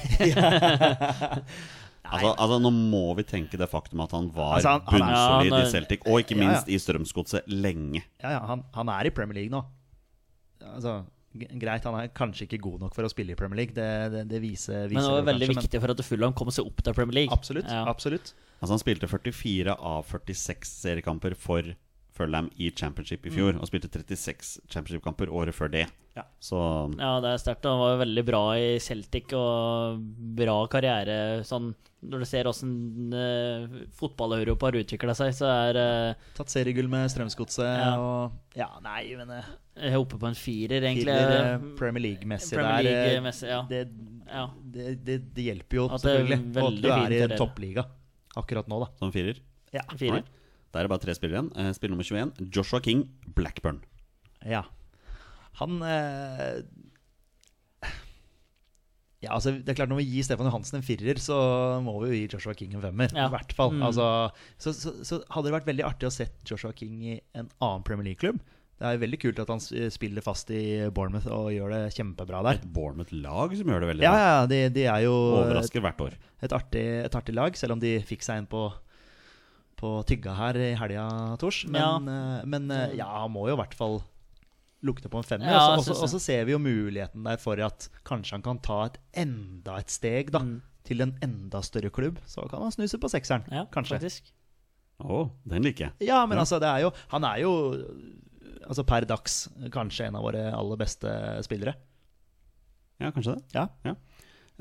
S1: Altså, altså, nå må vi tenke det faktum at han var
S3: Altså, han- han er-
S1: bunnsolid
S2: Ja, han er-
S1: i Celtic, og ikke
S3: Ja, ja.
S1: minst i Strømsgodset, lenge.
S3: Ja, ja, han, han er i Premier League nå. Altså, g- greit, han er kanskje ikke god nok for å spille i Premier League. Det, det, det viser, viser
S2: Men det var
S3: det
S2: veldig
S3: kanskje, men-
S2: viktig for at Fulham kom seg opp til Premier League.
S3: Absolutt.
S2: Ja.
S3: absolutt
S1: Altså Han spilte 44 av 46 seriekamper for Fulham i championship i fjor, og spilte 36 championship-kamper året før det.
S3: Mm. Ja.
S1: Så
S2: Ja, det er sterkt. og Han var jo veldig bra i Celtic og bra karriere. Sånn, når du ser åssen eh, fotball-Europa har utvikla seg, så er eh,
S3: Tatt seriegull med Strømsgodset
S2: Ja.
S3: og Ja, nei, men eh,
S2: jeg er oppe på en firer, egentlig. hmm,
S3: Hitler, eh, Premier League-messig
S2: Premier
S3: der, eh,
S2: League-messig, ja.
S3: det,
S2: Ja.
S3: det, det, det hjelper jo,
S2: At det er
S3: selvfølgelig. Og
S2: veldig
S3: at du
S2: fint
S3: er i
S2: å
S3: en
S2: redde.
S3: toppliga akkurat nå, da.
S1: som firer.
S3: Ja.
S2: Firer.
S1: Nei. Der er det bare tre spillere igjen. Eh, Spiller nummer 21, Joshua King, Blackburn.
S3: Ja. Han eh, Ja, altså det er klart Når vi gir Stefan Johansen en firer, så må vi jo gi Joshua King en femmer.
S2: Ja.
S3: I hvert fall.
S2: Mm.
S3: Altså, så, så, så hadde det vært veldig artig å sett Joshua King i en annen Premier League-klubb. Det er jo veldig kult at han s- spiller fast i Bournemouth og gjør det kjempebra der.
S1: Et Bournemouth-lag som gjør det veldig
S3: Ja,
S1: bra.
S3: ja, de, de er jo et,
S1: Overrasker hvert år.
S3: et, artig, et artig lag, selv om de fikk seg en på på tygga her i helga, Tors. Men, eh, men eh, ja, han må jo i hvert fall lukte på en femmer.
S2: Ja,
S3: og så-
S2: jeg synes
S3: og så- og
S2: det.
S3: så ser vi jo muligheten der for at kanskje han kan ta et enda et steg, da.
S2: Mm.
S3: Til en enda større klubb. Så kan han snuse på sekseren,
S2: Ja,
S3: kanskje.
S2: faktisk.
S1: Å, den liker jeg.
S3: Ja, men
S1: Ja.
S3: altså, det er jo Han er jo altså per dags kanskje en av våre aller beste spillere.
S1: Ja, kanskje det.
S3: Ja.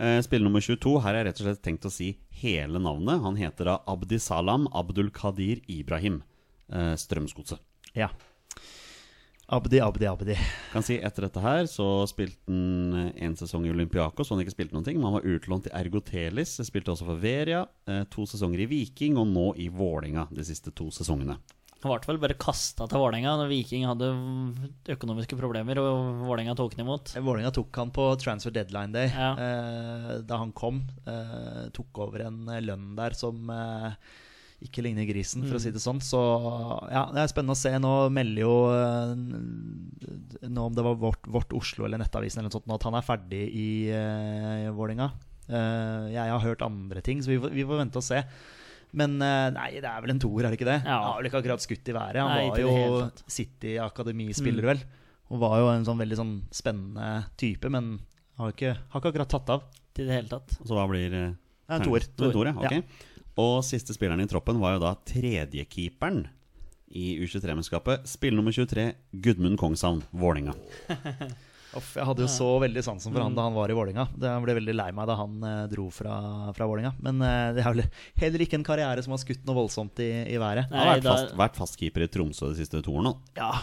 S1: Eh, Spiller nummer 22. Her har jeg rett og slett tenkt å si hele navnet. Han heter da Abdisalam Abdulkadir Ibrahim. Eh, Strømsgodset.
S3: ja. Abdi, Abdi, Abdi.
S1: Kan si etter dette her så spilte han eh, en sesong i Olympiakos, så han ikke spilte noen ting. Men han var utlånt til Ergotelis, spilte også for Veria. eh, To sesonger i Viking, og nå i Vålinga de siste to sesongene.
S2: Han ble vel bare kasta til Vålerenga når Viking hadde økonomiske problemer og Vålerenga tok han imot.
S3: Vålerenga tok han på transfer deadline day
S2: Ja.
S3: eh, da han kom. Eh, tok over en eh, lønn der som eh, ikke ligner grisen,
S2: Mm.
S3: for å si det sånn. Så ja, det er spennende å se. Nå melder jo eh, Nå om det var vårt, vårt Oslo eller Nettavisen eller noe sånt, nå at han er ferdig i eh, Vålerenga. Eh, jeg har hørt andre ting, så vi får, vi får vente og se. Men eh, nei, det er vel en toer, er det ikke det?
S2: Ja.
S3: Han har vel ikke akkurat skutt i været. Han
S2: Nei, ikke i
S3: var
S2: det
S3: jo
S2: hele tatt.
S3: City
S1: Mm.
S3: Akademi-spiller, vel. Og var jo en sånn veldig sånn spennende type, men har ikke, har ikke akkurat tatt av.
S2: Til det hele tatt.
S1: Så hva blir eh,
S3: Det er en toer.
S1: Det er en toer, ja.
S3: Ja.
S1: ok. Og siste spilleren i troppen var jo da tredjekeeperen i U23-mennskapet. Spiller nummer 23, Gudmund Kongshavn, Vålinga.
S3: Uff, jeg hadde jo så veldig sansen
S1: Mm.
S3: for han da han var i Vålinga. Jeg ble veldig lei meg da han eh, dro fra, fra Vålinga. Men eh, det er vel heller ikke en karriere som har skutt noe voldsomt i, i været.
S1: Han har
S2: Nei,
S1: vært
S2: da-
S1: fast, vært fast keeper i Tromsø de siste to årene.
S3: Ja,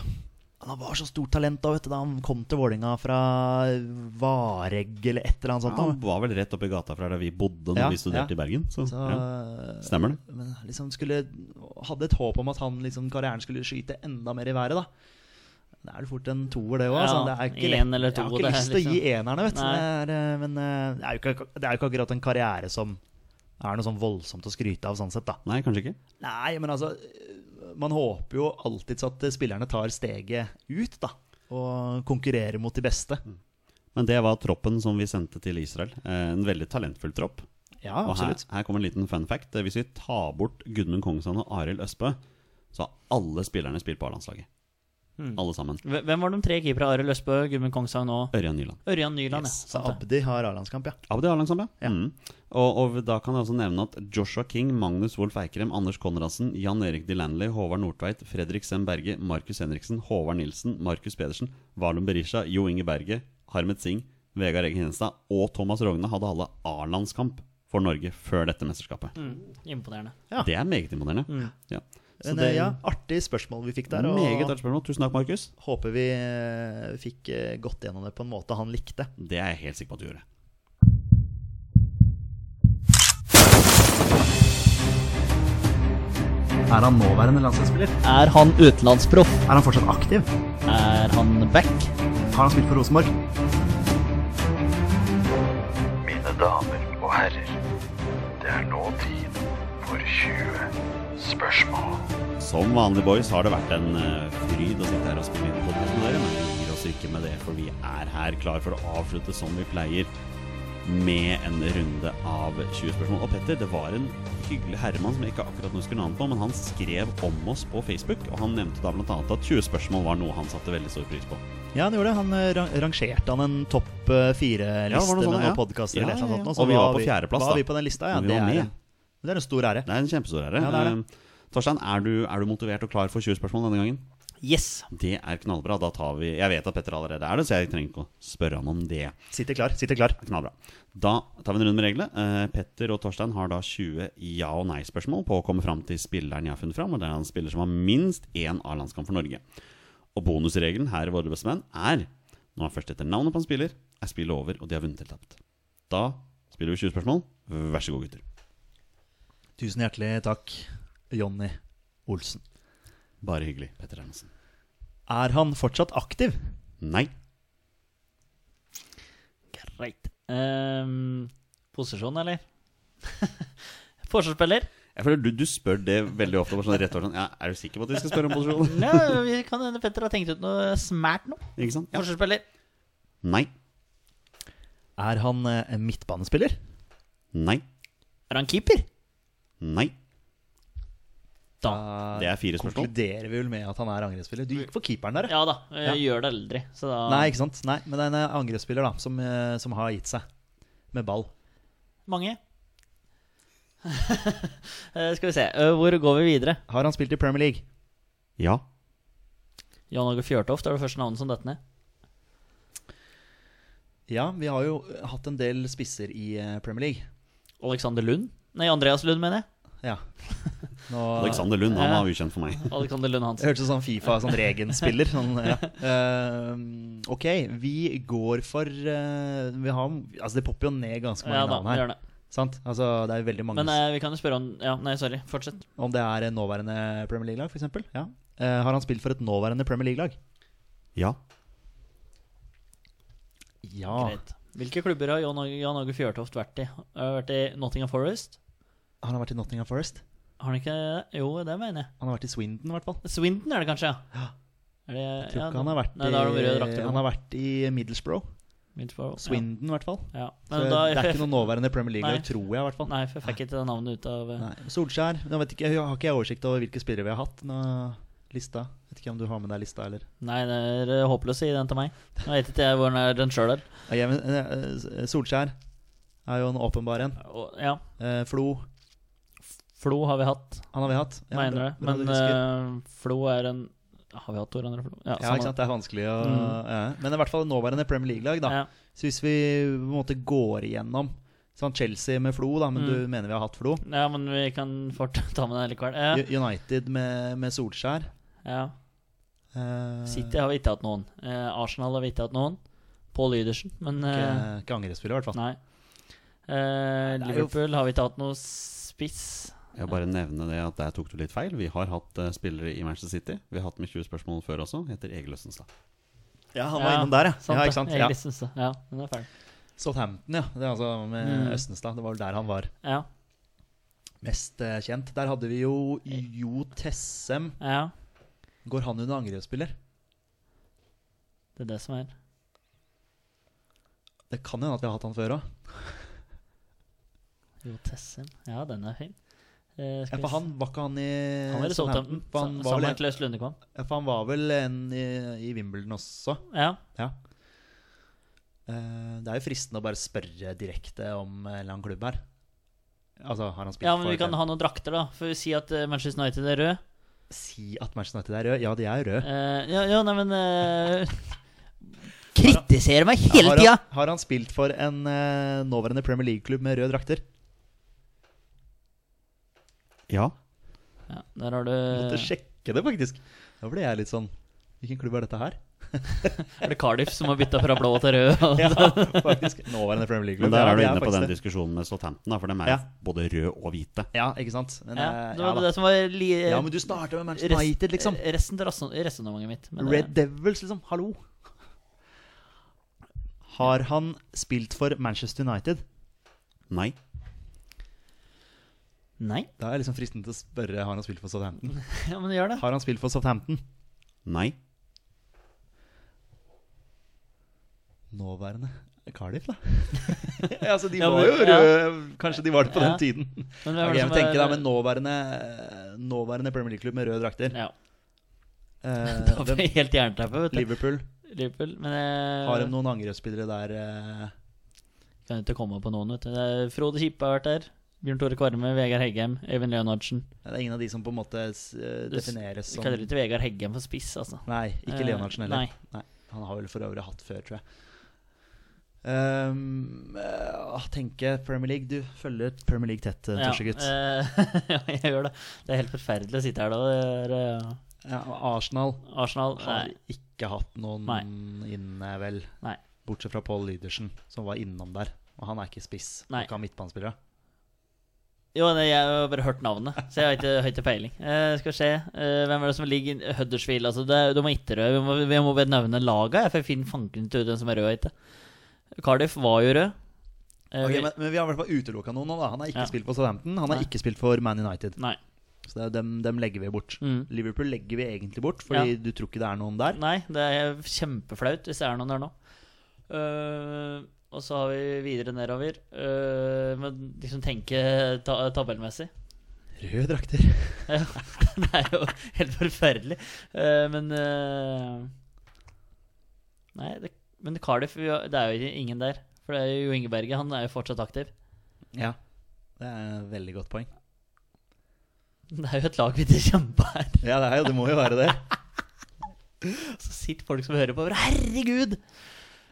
S3: han var så stort talent da, vet du, da han kom til Vålinga fra Varegg eller et eller annet sånt.
S1: Han
S3: da.
S1: var vel rett oppi gata fra der vi bodde når
S3: Ja,
S1: vi studerte
S3: ja.
S1: i Bergen. Så,
S3: Så,
S1: ja. Stemmer det.
S3: men liksom skulle Hadde et håp om at han liksom karrieren skulle skyte enda mer i været, da. Det er vel fort en toer, det òg.
S2: Ja,
S3: altså. Det er ikke
S2: en
S3: lett-
S2: eller to,
S3: Jeg har ikke
S2: det er
S3: lyst til å gi enerne, vet du.
S2: Nei.
S3: Det er, eh, Men eh, det er, jo ikke, det er jo ikke akkurat en karriere som er noe sånn voldsomt å skryte av, sånn sett, da.
S1: Nei, kanskje ikke.
S3: Nei, men altså Man håper jo alltids at eh, spillerne tar steget ut, da. Og konkurrerer mot de beste.
S1: Men det var troppen som vi sendte til Israel. Eh, en veldig talentfull tropp.
S3: Ja,
S1: Og her,
S3: absolutt.
S1: her kommer en liten fun fact. Hvis vi tar bort Gudmund Kongshavn og Arild Østbø, så har alle spillerne spilt på A-landslaget.
S2: Hmm.
S1: Alle sammen.
S2: Hv- Hvem var de tre keepere? Arild Østbø, Gummen Kongshavn og
S1: Ørjan Nyland.
S2: Ørjan Nyland,
S1: Yes.
S2: ja.
S3: Så Abdi har A-landskamp, ja.
S1: Abdi Harlandsson, ja. Mm. Og, og da kan jeg også nevne at Joshua King, Magnus Wolff Eikrem, Anders Konradsen, Jan Erik Delanley, Håvard Nordtveit, Fredrik Sem Berge, Markus Henriksen, Håvard Nilsen, Markus Pedersen, Valum Berisha, Jo Inge Berge, Harmet Singh, Vegard Eggen Henestad og Thomas Rogne hadde alle A-landskamp for Norge før dette mesterskapet.
S3: Mm.
S2: Mm, Imponerende.
S3: Ja.
S1: Det er meget imponerende. Ja. Så
S3: Men,
S1: det
S3: eh, ja, Artig spørsmål vi fikk
S1: det
S3: Mm. der.
S1: er
S3: og-
S1: meget artig spørsmål. Tusen takk, Markus.
S3: Håper vi eh, fikk eh, gått gjennom det på en måte han likte.
S1: Det er jeg helt sikker på at du gjorde.
S3: Er han nåværende landslagsspiller?
S2: Er han utenlandsproff?
S3: Er han fortsatt aktiv?
S2: Er han back?
S3: Har han spilt for Rosenborg?
S5: Mine damer og herrer, det er nå tid for 20 spørsmål.
S1: Som vanlig, boys, har det vært en eh, fryd å sitte her og spille inn podkast med dere, men vi gir oss ikke med det, for vi er her klar for å avslutte som vi pleier, med en runde av 20 spørsmål. Og Petter, det var en hyggelig herremann som jeg ikke akkurat nå husker navnet på, men han skrev om oss på Facebook, og han nevnte da blant annet at 20 spørsmål var noe han satte veldig stor pris på.
S3: Ja, han gjorde det. Han eh, ran- rangerte han en topp
S1: Ja, det
S3: eh,
S1: var
S3: fire-liste
S1: noe sånt,
S3: med
S1: ja.
S3: noen podkaster
S1: Ja,
S3: eller et eller
S1: ja,
S3: annet
S1: ja.
S3: sånt nå,
S1: Og vi var
S3: har
S1: på fjerdeplass,
S3: Var
S1: da.
S3: vi på den lista? Ja,
S1: Men vi
S3: det
S1: var med.
S3: er, en- det er en stor ære.
S1: Det er en kjempestor ære.
S3: Ja, det er det.
S1: Eh, Torstein, er du, er du motivert og klar for 20 spørsmål denne gangen?
S2: Yes!
S1: Det er knallbra. Da tar vi Jeg vet at Petter allerede er det, så jeg trenger ikke å spørre han om det.
S3: Sitter klar. Sitter klar.
S1: Knallbra. Da tar vi en runde med reglene. Eh, Petter og Torstein har da 20 ja- og nei-spørsmål på å komme fram til spilleren jeg har funnet fram, og det er en spiller som har minst én A-landskamp for Norge. Og bonusregelen her i Våre bestemenn er når man først etter navnet på en spiller, er spillet over, og de har vunnet eller tapt. Da spiller vi 20 spørsmål. Vær så god, gutter.
S3: Tusen hjertelig takk, Jonny Olsen.
S1: Bare hyggelig, Petter Hermansen.
S3: Er han fortsatt aktiv?
S1: Nei.
S2: Greit. Ehm, posisjon, eller? Forsvarsspiller?
S1: Jeg føler du, du spør det veldig ofte. bare Sånn rett over sånn, ja, er du sikker på at vi skal spørre om posisjon?
S2: Ja, vi kan hende Petter har tenkt ut noe smært nå.
S1: Ikke sant? Ja.
S2: Forsvarsspiller?
S1: Nei.
S3: Er han eh, en midtbanespiller?
S1: Nei.
S2: Er han keeper?
S1: Nei.
S2: Da.
S1: Det er fire spørsmål.
S3: Konkluderer vi vel med at han er angrepsspiller? Du gikk for keeperen der, ja.
S2: Ja da. Jeg Gjør det aldri. Så da
S3: Nei, ikke sant? Nei, men det er en eh, angrepsspiller da, som, eh, som har gitt seg med ball.
S2: Mange. Eh, Skal vi se. Eh, Hvor går vi videre?
S3: Har han spilt i Premier League?
S1: Ja.
S2: Jan Åge Fjørtoft er det første navnet som detter ned.
S3: Ja, vi har jo eh, hatt en del spisser i eh, Premier League.
S2: Alexander Lund? Nei, Andreas Lund, mener jeg.
S3: Ja. Nå,
S1: Alexander Lund han var ukjent for meg.
S2: Alexander Lund Hansen.
S3: Det hørtes ut som sånn Fifa, sånn Regen-spiller. Sånn, ja. Eh, ok, vi går for eh, vi har, Altså, det popper jo ned ganske mange
S2: Ja da,
S3: navn her.
S2: gjør det.
S3: Sant? Altså, det er veldig mange
S2: Men eh, vi kan jo spørre om Ja, nei, sorry. Fortsett.
S3: Om det er eh, nåværende Premier League-lag, f.eks. Ja. Eh, har han spilt for et nåværende Premier League-lag?
S1: Ja.
S3: Ja.
S2: Greit. Hvilke klubber har Jan Åge- Jan Åge Fjørtoft vært i? Har vært i Nottingham Forest?
S3: Har han vært i Nottingham Forest?
S2: Har han ikke det? Jo, det mener jeg.
S3: Han har vært i Swindon, i hvert fall.
S2: Swindon er det kanskje, ja. Er det,
S3: Jeg tror ikke han har vært
S2: nei, da har de røde
S3: i,
S2: drakter.
S3: han har vært i Middlesbrough.
S2: Middlesbrough,
S3: Swindon, i hvert fall.
S2: Ja. ja.
S3: Så
S2: Men da,
S3: det er ikke noe nåværende Premier League-lag,
S2: Nei.
S3: tror jeg. i hvert fall
S2: Nei, for jeg fikk ikke det navnet ut av eh,
S3: Nei. Solskjær Nå vet ikke, jeg Har ikke jeg oversikt over hvilke spillere vi har hatt? Nå, lista Vet ikke om du har med deg lista, eller?
S2: Nei, det er eh, håpløst å gi den til meg. Jeg vet ikke jeg hvor den er- den sjøl er.
S3: Nei, jeg- men, eh, eh, Solskjær er jo en åpenbar en.
S2: Og- Ja,
S3: Eh, Flo,
S2: Flo har vi hatt,
S3: han har vi hatt. Ja,
S2: mener
S3: bra-
S2: det.
S3: bra du
S2: Men
S3: husker.
S2: eh, Flo er en Har vi hatt to andre Flo?
S3: ja, ikke sant? Det er vanskelig å ja. Men i hvert fall nåværende Premier League-lag, da.
S2: Mm. Ja.
S3: Så hvis vi på en måte går igjennom sånn Chelsea med Flo, da, men
S2: Mm.
S3: du mener vi har hatt Flo.
S2: ja, men vi kan fort ta med den likevel.
S3: U-
S2: Eh,
S3: United med, med Solskjær.
S2: ja.
S3: Eh,
S2: City har vi ikke hatt noen. Eh, Arsenal har vi ikke hatt noen. Paul Lydersen, men eh,
S3: Ikke, ikke angrespiller, i hvert fall.
S2: Nei. Eh,
S3: det er jo-
S2: Liverpool har vi ikke hatt noe spiss.
S1: Jeg bare nevner det at der tok du litt feil. Vi har hatt eh, spillere i Manchester City. Vi har hatt med 20 spørsmål før også. Heter Egil Østenstad.
S3: Ja, han
S2: Ja,
S3: ja. ikke sant? Ja.
S2: Jeg synes det. Ja, den er ferdig.
S3: Southampton, ja. Det er altså med
S2: Mm.
S3: Østenstad. Det var vel der han var
S2: Ja,
S3: mest eh, kjent. Der hadde vi jo Jo Tessem.
S2: ja.
S3: Går han under angrepsspiller?
S2: Det er det som er.
S3: Det kan jo hende at vi har hatt han før òg.
S2: Jo, Tessin. Ja, den er fin. Eh, skal
S3: Ja,
S2: vi
S3: for
S2: s-
S3: han eh, var ikke han i
S2: han er i Southampton.
S3: For han,
S2: sa- Sammen
S3: var vel
S2: med
S3: en,
S2: Klaus Lunde kom.
S3: ja, for han var vel en i, i Wimbledon også.
S2: Ja.
S3: Ja. Eh, det er jo fristende å bare spørre direkte om en eller annen klubb her. Altså, har han spilt
S2: ja, men
S3: for
S2: vi kan ha noen drakter, da. For si at eh, Manchester United er rød.
S3: Si at Manchester United er rød. Ja, de er jo røde.
S2: Eh, ja, ja, nei, men eh, Kritiserer meg hele
S3: har,
S2: tida!
S3: han, har han spilt for en eh, nåværende Premier League-klubb med røde drakter?
S1: Ja.
S2: Ja, der har
S1: Eh.
S3: Måtte
S2: du
S3: sjekke det, faktisk. Da ble jeg litt sånn Hvilken klubb er dette her?
S2: Er det Cardiff som har bytta fra blå til rød?
S3: Ja, faktisk. Nåværende Premier
S1: Men
S3: League-klubb.
S1: der
S3: Ja,
S1: er du
S3: det
S1: inne på
S3: faktisk
S1: den
S3: det.
S1: diskusjonen med Southampton, da, for dem er
S3: Ja.
S1: både røde og hvite.
S3: Ja, ikke sant? Men,
S2: Ja,
S3: eh,
S2: det var
S3: ja, da.
S2: det som var li
S3: ja, men du starta med Manchester United,
S1: eh,
S3: liksom.
S2: Resten av rason- resonnementet mitt. men det-
S3: Red Devils, liksom. Hallo. Har han spilt for Manchester United?
S1: Nei.
S2: Nei,
S3: Da er jeg liksom fristende til å spørre har han spilt for Southampton.
S2: ja, men gjør det.
S3: Har han spilt for Southampton?
S1: Nei.
S3: Nåværende Cardiff, da. Ja, altså, de
S2: Ja,
S3: var
S2: men-
S3: jo røde. Kanskje de var det på
S2: Ja.
S3: den tiden.
S2: Men hvem er
S3: Ok,
S2: det
S3: men
S2: som
S3: tenk
S2: er-
S3: deg med nåværende, nåværende Premier League-klubb med røde drakter.
S2: Ja,
S3: Eh,
S2: da
S3: hvem-
S2: var jeg helt jernteppe, vet du.
S3: Liverpool.
S2: Liverpool. Men jeg
S3: Har de noen angrepsspillere der? eh?
S2: kan jo ikke komme på noen, vet du. Det er Frode Kippe har vært der. Bjørn Tore Kvarme, Vegard Heggem, Øyvind Leonardsen.
S3: Det er ingen av de som på en måte s- eh,
S2: Du s-
S3: defineres
S2: Vi
S3: som
S2: kaller ikke Vegard Heggem for spiss, altså.
S3: Nei, ikke
S2: Eh,
S3: Leonardsen heller.
S2: nei.
S3: Han har vel for øvrig hatt før, tror jeg. Um, eh, å tenke Premier League Du følger Premier League tett, eh, Torsegutt. Ja,
S2: eh, ja, jeg gjør det. Det er helt forferdelig å sitte her da. Det er, eh,
S3: Arsenal
S2: Arsenal
S3: har
S2: Nei.
S3: ikke hatt noen inne, vel.
S2: Nei.
S3: Bortsett fra Paul Lydersen, som var innom der. Og han er ikke spiss.
S2: Nei.
S3: Ikke han midtbanespillere.
S2: Jo, nei, jeg har bare hørt navnet, så jeg har ikke, har ikke peiling. Eh, skal vi se. Eh, hvem er det som ligger i Huddersfield? Altså, det, er- de er Itterød. Vi må, vi må bare nevne laga, jeg, for jeg finner fanken ikke ut hvem som er rød og ikke. Cardiff var jo rød. Eh,
S3: Ok,
S2: vi-
S3: men, men vi har i hvert fall utelukka noen nå, da. Han har ikke
S2: Ja.
S3: spilt for Southampton. Han har
S2: Nei.
S3: ikke spilt for Man United.
S2: Nei.
S3: Så det er dem, dem legger vi bort.
S2: Mm.
S3: Liverpool legger vi egentlig bort, fordi du tror ikke det er noen der.
S2: Nei, det er kjempeflaut hvis det er noen der nå. Eh, og så har vi videre nedover. Eh, men liksom tenke ta tabellmessig.
S3: Røde drakter.
S2: Ja, det er jo helt forferdelig. Eh, men eh, Nei, det, men Cardiff vi har- Det er jo ingen der. For det er jo Ingeberget. Han er jo fortsatt aktiv.
S3: Ja. Det er et veldig godt poeng.
S2: Det er jo et lag vi ikke kjempa her.
S3: Ja, det, er, jo- det må jo være det.
S2: Så sitter folk som hører på og bare Herregud!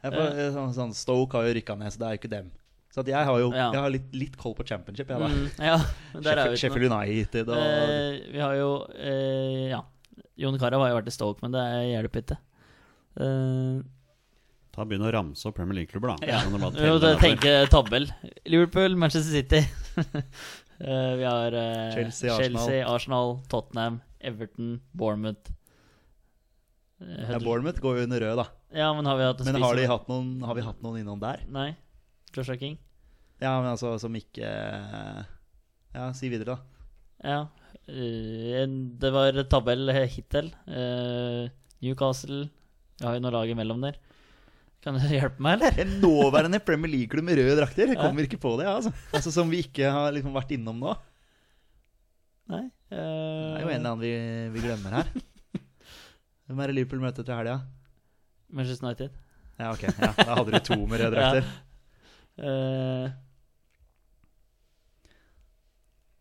S3: Jeg får, sånn, sånn, Stoke har jo rykka ned, så det er jo ikke dem. Så at jeg har jo
S2: Ja.
S3: jeg har litt, litt koll på championship, jeg, da.
S2: Mm, ja, men der er jo
S3: Sheffield,
S2: ikke noe.
S3: Sheffield United og
S2: Eh, vi har jo eh, Ja. Jon Carew har jo vært i Stoke, men det er- hjelper ikke. Eh,
S1: Ta Begynn å ramse opp Premier League-klubber, da. Sånn at du bare
S2: vi må
S1: teller nedover.
S2: tenke tabell. Liverpool, Manchester City. Eh, vi har eh,
S3: Chelsea, Arsenal.
S2: Chelsea, Arsenal, Tottenham, Everton, Bournemouth. Eh,
S3: ja,
S2: Huddersfield.
S3: Bournemouth går jo under rød, da.
S2: ja, men har vi hatt en
S3: Men
S2: spiss-
S3: har, de hatt noen, har vi hatt noen innom der?
S2: Nei. Joshua King.
S3: Ja, men altså som ikke Ja, si videre, da.
S2: Ja. Eh, en- det var tabell hittil. Eh, Newcastle Vi har jo noen lag imellom der. Kan du hjelpe meg, eller?
S3: En nåværende Premier League-klubb med røde drakter. Jeg kommer ikke på det, ja, altså. altså. Som vi ikke har liksom vært innom nå.
S2: Nei. eh,
S3: Det er jo en eller annen vi, vi glemmer her. Hvem er det Liverpool møter til helga?
S2: Eh, Manchester United.
S3: Ja, ok. Ja, da hadde du to med røde drakter.
S2: Eh,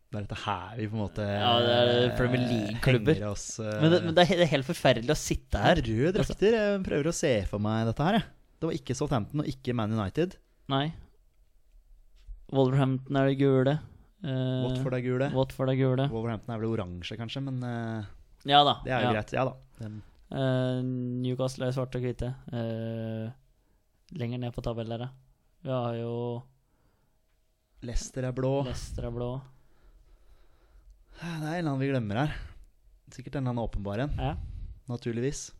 S3: Det er dette her vi på en måte
S2: Ja, det er eh, Premier League-klubber.
S3: henger oss, eh,
S2: men, det, men det er he- det er helt forferdelig å sitte her.
S3: det er røde drakter. Jeg prøver å se for meg dette her. jeg. Det var ikke Southampton og ikke Man United.
S2: Nei. Wolverhampton er det gule. Eh,
S3: Watford er gule.
S2: Watford er gule.
S3: Wolverhampton er vel oransje, kanskje, men eh,
S2: Ja da.
S3: det er jo
S2: ja.
S3: greit. Ja da. Den,
S2: Eh, Newcastle er svarte og hvite. Eh, lenger ned på tabellen her, da. Vi har jo
S3: Leicester er blå.
S2: Leicester er blå.
S3: Det er en eller annen vi glemmer her. Sikkert en eller annen åpenbar en,
S2: Ja.
S3: naturligvis.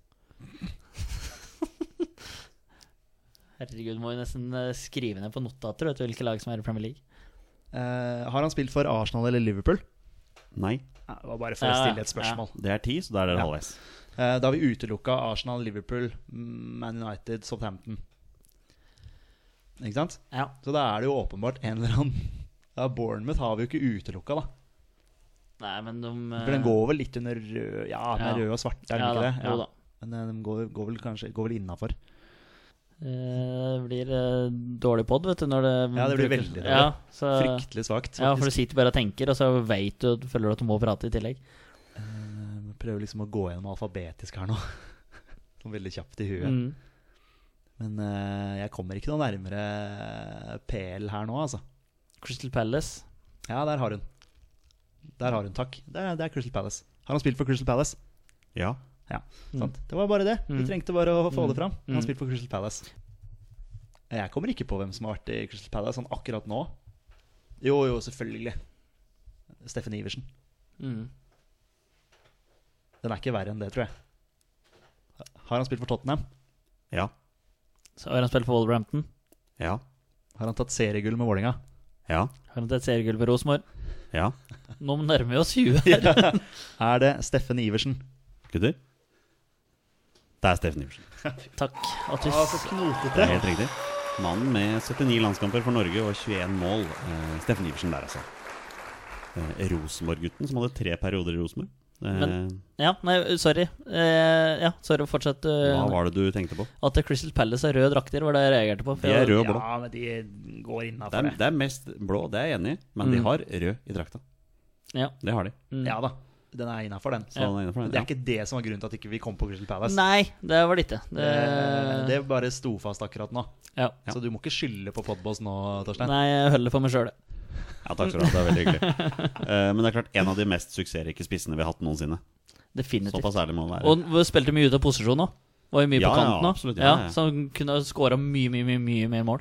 S2: Herregud, må jo nesten eh, skrive ned på notater vet du, hvilke lag som er i Premier League.
S3: Eh, har han spilt for Arsenal eller Liverpool?
S1: Nei,
S3: Ja, det var bare for å
S2: Ja,
S3: stille et
S2: ja.
S3: spørsmål.
S1: det er ti, så da er dere
S3: Ja.
S1: halvveis.
S3: Eh, da har vi utelukka Arsenal, Liverpool, Man United, Southampton. Ikke sant?
S2: Ja.
S3: Så da er det jo åpenbart en eller annen ja, Bournemouth har vi jo ikke utelukka, da.
S2: Nei, men de eh,
S3: For den går vel litt under rød Ja, den
S2: Ja.
S3: er rød og svart, er den
S2: ja, da,
S3: ikke det?
S2: Jo da.
S3: Men eh, den går, går vel kanskje Går vel innafor.
S2: Eh, Det blir eh, dårlig pod, vet du. Når det
S3: Ja, det blir veldig dårlig.
S2: Ja, så,
S3: Fryktelig svakt.
S2: ja, for du
S3: faktisk.
S2: sitter bare og tenker, og så vet du at- føler du at du må prate i tillegg.
S3: Eh, Prøver liksom å gå gjennom alfabetisk her nå. Sånn veldig kjapt i huet.
S2: Mm.
S3: Men eh, jeg kommer ikke noe nærmere PL her nå, altså.
S2: Crystal Palace.
S3: Ja, der har hun. Der har hun, takk. Det er, det er Crystal Palace. Har han spilt for Crystal Palace?
S1: Ja.
S3: Ja, sant. Det var bare det. Vi
S2: Mm.
S3: trengte bare å få det fram. Han
S2: Mm.
S3: har spilt for Crystal Palace. Jeg kommer ikke på hvem som har vært i Crystal Palace sånn akkurat nå. Jo, jo, selvfølgelig. Steffen Iversen.
S2: Mm.
S3: Den er ikke verre enn det, tror jeg. Har han spilt for Tottenham?
S1: Ja.
S2: Så har han spilt for Wolverhampton.
S1: Ja.
S3: Har han tatt seriegull med Vålinga?
S1: Ja.
S2: Har han tatt seriegull for Rosenborg.
S1: Ja.
S2: Nå nærmer vi oss 20 her.
S3: Er det Steffen Iversen?
S1: Gutter? Det er Steffen Iversen.
S2: Takk. At du
S1: Det er helt riktig. Mannen med 79 landskamper for Norge og 21 mål. Eh, Steffen Iversen der, altså. Eh, Rosenborg-gutten som hadde tre perioder i Rosenborg.
S2: Men-
S1: Eh,
S2: Ja, nei, sorry. Eh, ja, sorry, fortsett. eh,
S1: hva var det du tenkte på?
S2: At Crystal Palace har røde drakter, var det jeg reagerte på. for
S1: De er
S2: jeg-
S1: røde og blå.
S3: Ja, men de går
S1: Det
S3: innafor
S1: er,
S3: det.
S1: det er mest blå, det er jeg enig i, men de
S2: Mm.
S1: har rød i drakta.
S2: Ja.
S1: Det har de.
S2: Mm.
S3: Ja da, den er innafor, den.
S1: Så han er innenfor
S3: Men det
S1: den.
S3: er ikke det som var grunnen til at ikke vi ikke kom på Crystal Palace.
S2: Nei, det var det ikke. Det,
S3: Eh, Det bare sto fast akkurat nå.
S2: ja.
S3: Så du må ikke skylde på Podboss nå, Torstein.
S2: Nei, jeg holder for meg sjøl, det.
S1: Ja, takk skal du ha, det er veldig hyggelig. Eh, men det er klart, en av de mest suksessrike spissene vi har hatt noensinne.
S2: Definitivt.
S1: Såpass ærlig må det være.
S2: Og hun spilte mye ut av posisjon òg. Var jo mye
S1: Ja,
S2: på
S1: ja,
S2: kanten òg.
S1: absolutt, ja, ja.
S2: så han kunne ha skåra mye, mye, mye, mye mer mål.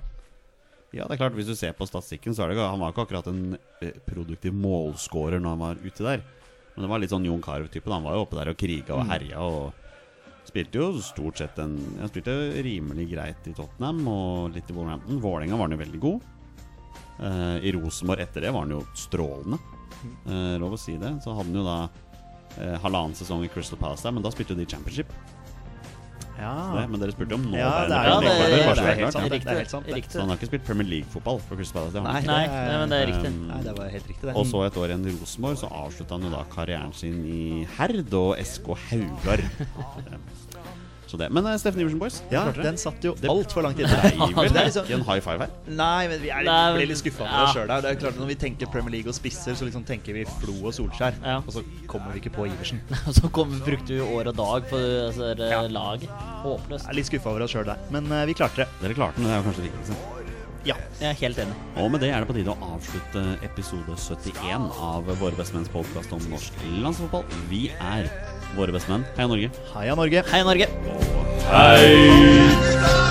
S1: Ja, det er klart, Hvis du ser på statistikken, så er det ikke Han var ikke akkurat en eh, produktiv målscorer når han var ute der. Men det var litt sånn Jon Carew-type. da. Han var jo oppe der og kriga
S3: Mm.
S1: og herja. Og spilte jo stort sett en Han spilte rimelig greit i Tottenham og litt i Wolverhampton. Vålerenga var han jo veldig god. Eh, I Rosenborg etter det var han jo strålende.
S3: Mm.
S1: Eh, lov å si det. Så hadde han jo da eh, halvannen sesong i Crystal Palace der, men da spilte jo de championship. Det,
S3: Ja,
S1: men dere spurte om nå.
S3: Ah.
S1: der,
S3: ja det er
S2: Ja,
S3: jo
S1: men-
S2: det-
S3: det,
S1: bare så
S3: det
S1: det
S3: er
S1: er
S3: helt
S1: klart, ja.
S3: sant. Det er helt sant. det.
S1: Så han har ikke spilt Premier League-fotball for Crystal Palace. Det har han ikke.
S2: Nei, nei, men det er riktig.
S1: Um,
S3: Nei, det var helt riktig, det.
S1: og så et år igjen i Rosenborg, så avslutta han jo da karrieren sin i Herd og SK Haugar. så det. Men eh, Steffen Iversen Boys,
S3: Ja,
S1: klarte det.
S3: den satt jo altfor langt inne.
S1: Nei, vel, det
S3: Det er
S1: er
S3: liksom-
S1: ikke en high five her.
S3: Nei, men vi er litt,
S2: Nei, men-
S3: blir litt skuffa over
S2: ja.
S3: oss sjøl der. Det er jo klart at Når vi tenker Premier League og spisser, så liksom tenker vi Flo og Solskjær.
S2: Ja.
S3: Og så kommer vi ikke på Iversen.
S2: Så kom, brukte vi jo år og dag på altså, det laget. Håpløst.
S3: Jeg er litt skuffa over oss sjøl der, men eh, vi klarte det.
S1: Dere klarte den, det er jo kanskje det
S3: liksom.
S1: viktigste.
S3: Ja.
S2: Jeg er helt enig.
S1: Og med det er det på tide å avslutte episode 71 av Våre bestemenns podkast om norsk landsfotball. Vi er Våre bestemenn. Heia Norge.
S3: Heia Norge.
S2: Hei, Norge!
S1: Hei!